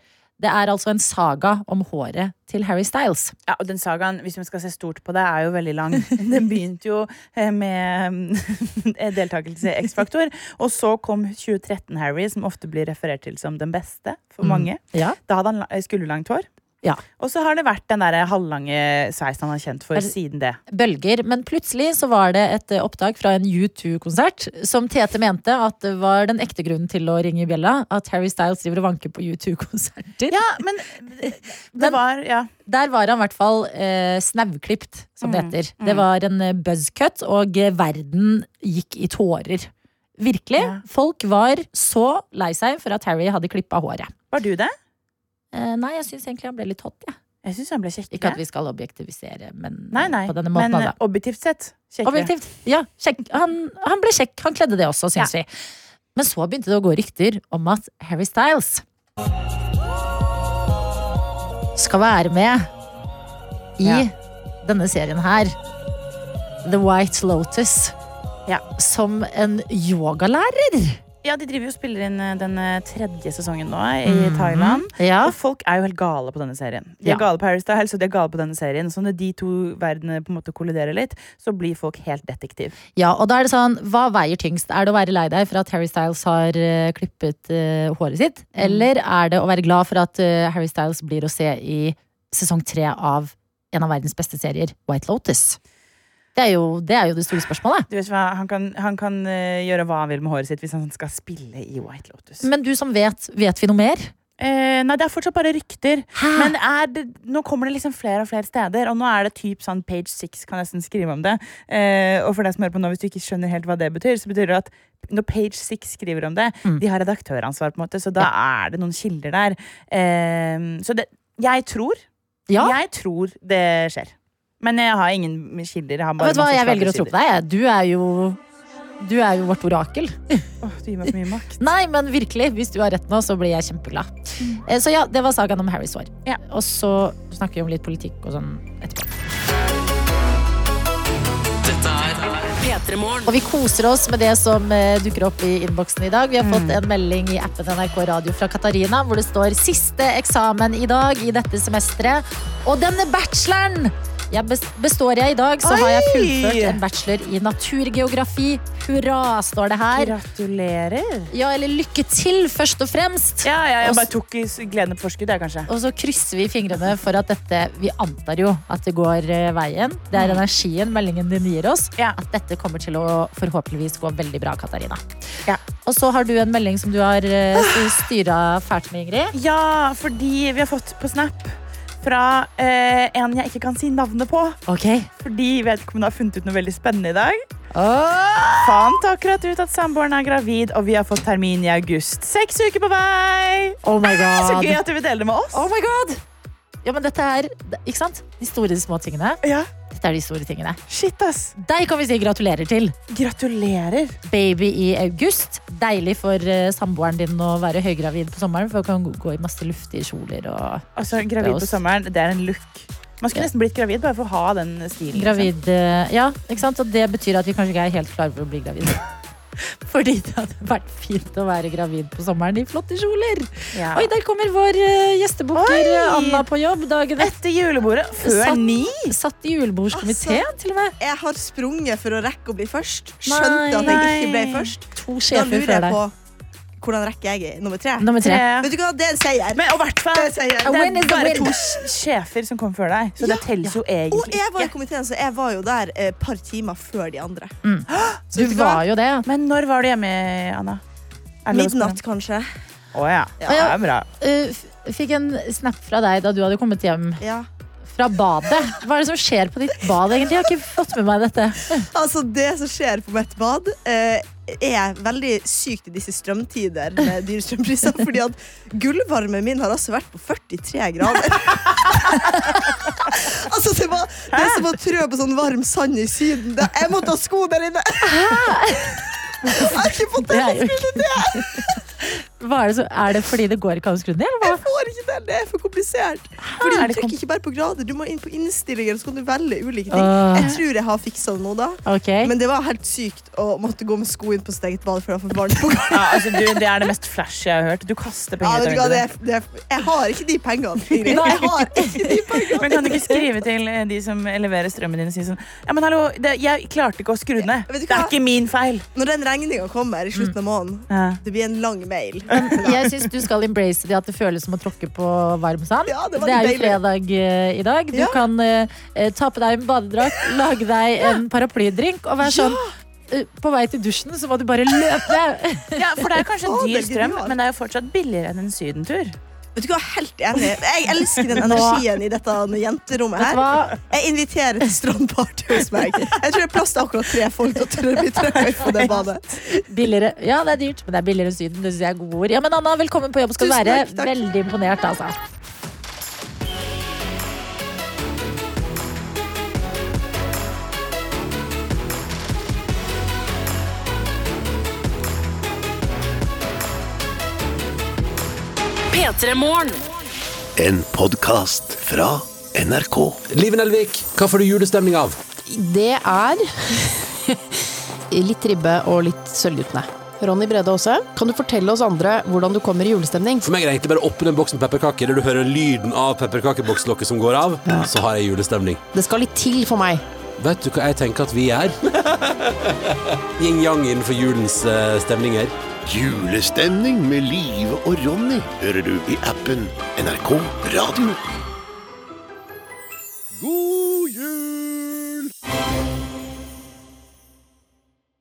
[SPEAKER 3] Det er altså en saga om håret til Harry Styles.
[SPEAKER 4] Ja, og den sagaen, hvis man skal se stort på det, er jo veldig lang. Den begynte jo eh, med eh, deltakelse i X-Faktor, og så kom 2013-Harry, som ofte blir referert til som den beste for mange.
[SPEAKER 3] Mm. Ja.
[SPEAKER 4] Da hadde han la- eh, skulderlangt hår.
[SPEAKER 3] Ja.
[SPEAKER 4] Og så har det vært den der halvlange sveisen han er kjent for
[SPEAKER 3] Er-
[SPEAKER 4] siden det.
[SPEAKER 3] bølger, men plutselig så var det et eh, opptak fra en U2-konsert som Tete mente at det var den ekte grunnen til å ringe i bjella, at Harry Styles driver og vanker på U2-konserter.
[SPEAKER 4] Ja, men det var Ja.
[SPEAKER 3] Der var han i hvert fall eh, snauklipt, som
[SPEAKER 4] Mm,
[SPEAKER 3] det heter. Det var en eh, buzzcut, og eh, verden gikk i tårer. Virkelig.
[SPEAKER 4] Ja.
[SPEAKER 3] Folk var så lei seg for at Harry hadde klippa håret.
[SPEAKER 4] Var du det?
[SPEAKER 3] Eh, nei, jeg syns egentlig han ble litt hot, jeg.
[SPEAKER 4] Jeg syns han ble
[SPEAKER 3] Ikke at
[SPEAKER 4] kjekkere.
[SPEAKER 3] vi skal objektivisere, men eh,
[SPEAKER 4] Nei, nei.
[SPEAKER 3] på denne måten.
[SPEAKER 4] Men
[SPEAKER 3] da.
[SPEAKER 4] eh, objektivt sett kjekkere.
[SPEAKER 3] Objektivt. Ja, kjekk. Han, han ble kjekk. Han kledde det også, syns vi. Men så begynte det å gå rykter om at Harry Styles skal være med i
[SPEAKER 4] Ja.
[SPEAKER 3] denne serien her, The White Lotus,
[SPEAKER 4] Ja.
[SPEAKER 3] som en yogalærer.
[SPEAKER 4] Ja, de driver jo og spiller inn eh, den eh, tredje sesongen nå eh, i Thailand.
[SPEAKER 3] Mhm. Ja.
[SPEAKER 4] Og folk er jo helt gale på denne serien. De
[SPEAKER 3] Ja.
[SPEAKER 4] er gale på Harry Styles, og de er gale på denne serien. Så når de to verdenene på en måte kolliderer litt, så blir folk helt detektiv.
[SPEAKER 3] ja, og da er det sånn, hva veier tyngst? Er det å være lei deg for at Harry Styles har eh, klippet eh, håret sitt?
[SPEAKER 4] Mm.
[SPEAKER 3] Eller er det å være glad for at eh, Harry Styles blir å se i sesong tre av en av verdens beste serier, White Lotus? Det er jo det, er jo det store spørsmålet.
[SPEAKER 4] Du vet hva, Han kan, han kan eh, gjøre hva han vil med håret sitt hvis han skal spille i White Lotus.
[SPEAKER 3] Men du som vet, vet vi noe mer?
[SPEAKER 4] Eh, nei, det er fortsatt bare rykter.
[SPEAKER 3] Hæ?
[SPEAKER 4] Men er det, nå kommer det liksom flere og flere steder, og nå er det typ sånn page six kan nesten skrive om det. Eh, og for deg som hører på nå, hvis du ikke skjønner helt hva det betyr, så betyr det at når page six skriver om det,
[SPEAKER 3] Mm.
[SPEAKER 4] de har redaktøransvar, på en måte, så da er det noen kilder der. Eh, så det, jeg tror
[SPEAKER 3] Ja,
[SPEAKER 4] Jeg tror det skjer. Men jeg har ingen kilder. Jeg har bare
[SPEAKER 3] vet du hva,
[SPEAKER 4] masse
[SPEAKER 3] jeg velger å tro
[SPEAKER 4] slagsider.
[SPEAKER 3] på deg. jeg. Du er jo, du er jo vårt orakel.
[SPEAKER 4] Åh, du gir meg for mye makt.
[SPEAKER 3] Nei, men virkelig, hvis du har rett nå, så blir jeg kjempeglad. Eh, Så ja, det var sagaen om Harrys hår.
[SPEAKER 4] Mm. Ja.
[SPEAKER 3] Og så snakker vi om litt politikk og sånn etterpå.
[SPEAKER 2] P3 Morgen.
[SPEAKER 3] Og vi koser oss med det som eh, dukker opp i innboksen i dag.
[SPEAKER 4] Mm.
[SPEAKER 3] Vi har fått en melding i appen NRK Radio fra Katarina, hvor det står 'siste eksamen i dag i dette semesteret'. Og denne bacheloren! Jeg bes- består jeg i dag, så har jeg
[SPEAKER 4] Oi!
[SPEAKER 3] fullført en bachelor i naturgeografi. Hurra, står det her.
[SPEAKER 4] Gratulerer.
[SPEAKER 3] Ja, eller lykke til, først og fremst.
[SPEAKER 4] Ja, ja,
[SPEAKER 3] Og
[SPEAKER 4] jeg
[SPEAKER 3] s-
[SPEAKER 4] bare tok i s- gleden på forskudd, jeg, kanskje.
[SPEAKER 3] Og så krysser vi fingrene for at dette Vi antar jo at det går eh, veien. Det er energien meldingen din gir oss.
[SPEAKER 4] Ja.
[SPEAKER 3] At dette kommer til å forhåpentligvis gå veldig bra, Katarina.
[SPEAKER 4] Ja.
[SPEAKER 3] Og så har du en melding som du har styra fælt med, Ingrid.
[SPEAKER 4] Ja, fordi vi har fått på Snap fra eh, en jeg ikke kan si navnet på.
[SPEAKER 3] Ok.
[SPEAKER 4] Fordi vedkommende har funnet ut noe veldig spennende i dag. Fant akkurat ut at samboeren er gravid, og vi har fått termin i august. Seks uker på vei!
[SPEAKER 3] Oh my
[SPEAKER 4] Så
[SPEAKER 3] god.
[SPEAKER 4] gøy at du vil dele det med oss.
[SPEAKER 3] Oh my god. Ja, men dette er Ikke sant? De store, de små tingene.
[SPEAKER 4] Ja,
[SPEAKER 3] Dette er de store tingene.
[SPEAKER 4] Shit, ass.
[SPEAKER 3] Deg kan vi si gratulerer til.
[SPEAKER 4] Gratulerer.
[SPEAKER 3] Baby i august. Deilig for eh, samboeren din å være høygravid på sommeren, for hun kan gå- gå i masse luftige kjoler og
[SPEAKER 4] Altså, gravid
[SPEAKER 3] oss.
[SPEAKER 4] på sommeren, det er en look. Man skulle nesten blitt gravid bare for å ha den stilen. liksom.
[SPEAKER 3] Gravid, eh, ja, ikke sant? Og det betyr at vi kanskje ikke er helt klare for å bli gravid. Fordi det hadde vært fint å være gravid på sommeren i flotte kjoler.
[SPEAKER 4] Ja.
[SPEAKER 3] Oi, der kommer vår eh, gjestebukker eh, Anna på jobb dagen etter.
[SPEAKER 4] Etter julebordet, før
[SPEAKER 3] Satt-
[SPEAKER 4] ni.
[SPEAKER 3] Satt i julebordskomité, til og med.
[SPEAKER 10] Jeg har sprunget for å rekke å bli først. Skjønte at jeg ikke ble
[SPEAKER 4] Nei.
[SPEAKER 10] først.
[SPEAKER 3] To
[SPEAKER 10] Da
[SPEAKER 3] sjefer
[SPEAKER 10] lurer
[SPEAKER 3] før
[SPEAKER 10] jeg
[SPEAKER 3] deg.
[SPEAKER 10] på hvordan rekker jeg nummer tre.
[SPEAKER 3] Nummer tre.
[SPEAKER 4] Tre.
[SPEAKER 10] Vet du hva, det er en seier.
[SPEAKER 4] Men og hvert fall,
[SPEAKER 10] Det sier jeg.
[SPEAKER 4] det
[SPEAKER 3] A win
[SPEAKER 4] er
[SPEAKER 3] is a
[SPEAKER 4] bare
[SPEAKER 3] win.
[SPEAKER 4] to sj- sjefer som kom før deg, så det telles jo
[SPEAKER 10] Og
[SPEAKER 4] egentlig
[SPEAKER 10] jeg var i
[SPEAKER 4] ikke.
[SPEAKER 10] komiteen, så jeg var jo der et par timer før de andre. Så
[SPEAKER 3] Du
[SPEAKER 10] vet du hva?
[SPEAKER 3] var jo det.
[SPEAKER 4] Men når var du hjemme, Anna? Er det lov å spørre?
[SPEAKER 10] Midnatt, kanskje.
[SPEAKER 4] Å ja.
[SPEAKER 10] Ja.
[SPEAKER 4] Det er bra.
[SPEAKER 3] Eh, f- Fikk en snap fra deg da du hadde kommet hjem
[SPEAKER 10] Ja.
[SPEAKER 3] fra badet. Hva er det som skjer på ditt bad, egentlig? Jeg har ikke fått med meg dette.
[SPEAKER 10] Altså, det som skjer på mitt bad, eh, er veldig sykt i disse strømtider med dyre strømpriser. Fordi at gulvvarmen min har altså vært på 43 grader. altså, det, var, det er som å trø på sånn varm sand i Syden. Det, jeg måtte ha sko der inne! jeg har ikke fått
[SPEAKER 3] Det
[SPEAKER 10] det.
[SPEAKER 3] er jo ikke Hva er, det så, er det fordi det går ikke an å skru den ned? eller
[SPEAKER 10] Jeg
[SPEAKER 3] hva?
[SPEAKER 10] får ikke til. Det er for komplisert. Fordi
[SPEAKER 4] Ah, er
[SPEAKER 10] Du
[SPEAKER 4] det kom-
[SPEAKER 10] trykker ikke bare på grader, du må inn på innstillinger, så kan du velge ulike ting.
[SPEAKER 3] Åh.
[SPEAKER 10] Jeg tror jeg har fiksa det nå, da.
[SPEAKER 3] Ok.
[SPEAKER 10] Men det var helt sykt å måtte gå med sko inn på sitt eget bad. For det var for varmt på gangen.
[SPEAKER 4] Ja, altså, du, det er det mest flashy jeg har hørt. Du kaster
[SPEAKER 10] ja,
[SPEAKER 4] penger
[SPEAKER 10] vet
[SPEAKER 4] ut
[SPEAKER 10] du
[SPEAKER 4] av
[SPEAKER 10] hva, det,
[SPEAKER 4] vinduet.
[SPEAKER 10] det, jeg har ikke de pengene. Ingrid. Jeg har ikke de pengene.
[SPEAKER 4] Men kan du ikke skrive til eh, de som leverer strømmen din og si sånn Ja, men hallo, det, jeg klarte ikke å skru den ned.
[SPEAKER 10] Vet du
[SPEAKER 4] Det er
[SPEAKER 10] hva?
[SPEAKER 4] ikke min feil.
[SPEAKER 10] Når den regninga kommer i slutten av måneden,
[SPEAKER 4] Ja.
[SPEAKER 10] det blir en lang mail.
[SPEAKER 3] Jeg syns du skal embrace det at det føles som å tråkke på varm sand.
[SPEAKER 10] Ja, det
[SPEAKER 3] det,
[SPEAKER 10] var
[SPEAKER 3] er jo
[SPEAKER 10] deilig.
[SPEAKER 3] fredag eh, i dag. Du
[SPEAKER 10] Ja.
[SPEAKER 3] kan eh, eh, ta på deg en badedrakt, lage deg en paraplydrink og være sånn eh, På vei til dusjen så må du bare løpe.
[SPEAKER 4] Ja, for det er kanskje
[SPEAKER 10] Å, det
[SPEAKER 4] dyr
[SPEAKER 10] er
[SPEAKER 4] strøm,
[SPEAKER 10] genialt.
[SPEAKER 4] men det er jo fortsatt billigere enn en sydentur.
[SPEAKER 10] Vet du hva, Helt enig. Jeg elsker den energien i dette jenterommet
[SPEAKER 3] Vet du
[SPEAKER 10] her.
[SPEAKER 3] hva?
[SPEAKER 10] Jeg inviterer til strandparty hos meg. Jeg tror det er plass til akkurat tre folk. Og til å bli trøkket på det badet.
[SPEAKER 3] Billigere. Ja, det er dyrt, men det er billigere enn Syden. Det syns jeg er gode ord. Ja, men Anna, velkommen på jobb skal du
[SPEAKER 10] Tusen
[SPEAKER 3] være.
[SPEAKER 10] takk, takk.
[SPEAKER 3] Veldig imponert, altså.
[SPEAKER 11] P3 Morgen.
[SPEAKER 1] En podkast fra NRK.
[SPEAKER 12] Liven Elvik, hva får du julestemning av?
[SPEAKER 13] Det er litt ribbe og litt sølvguttene. Ronny Brede Aase, kan du fortelle oss andre hvordan du kommer i julestemning?
[SPEAKER 12] For meg er det egentlig bare å åpne en boks med pepperkaker. Når du hører lyden av pepperkakebokslokket som går av, så har jeg julestemning.
[SPEAKER 13] Det skal litt til for meg.
[SPEAKER 12] Vet du hva jeg tenker at vi er? Yin-yang innenfor julens eh, stemninger.
[SPEAKER 1] Julestemning med Live og Ronny hører du i appen NRK Radio.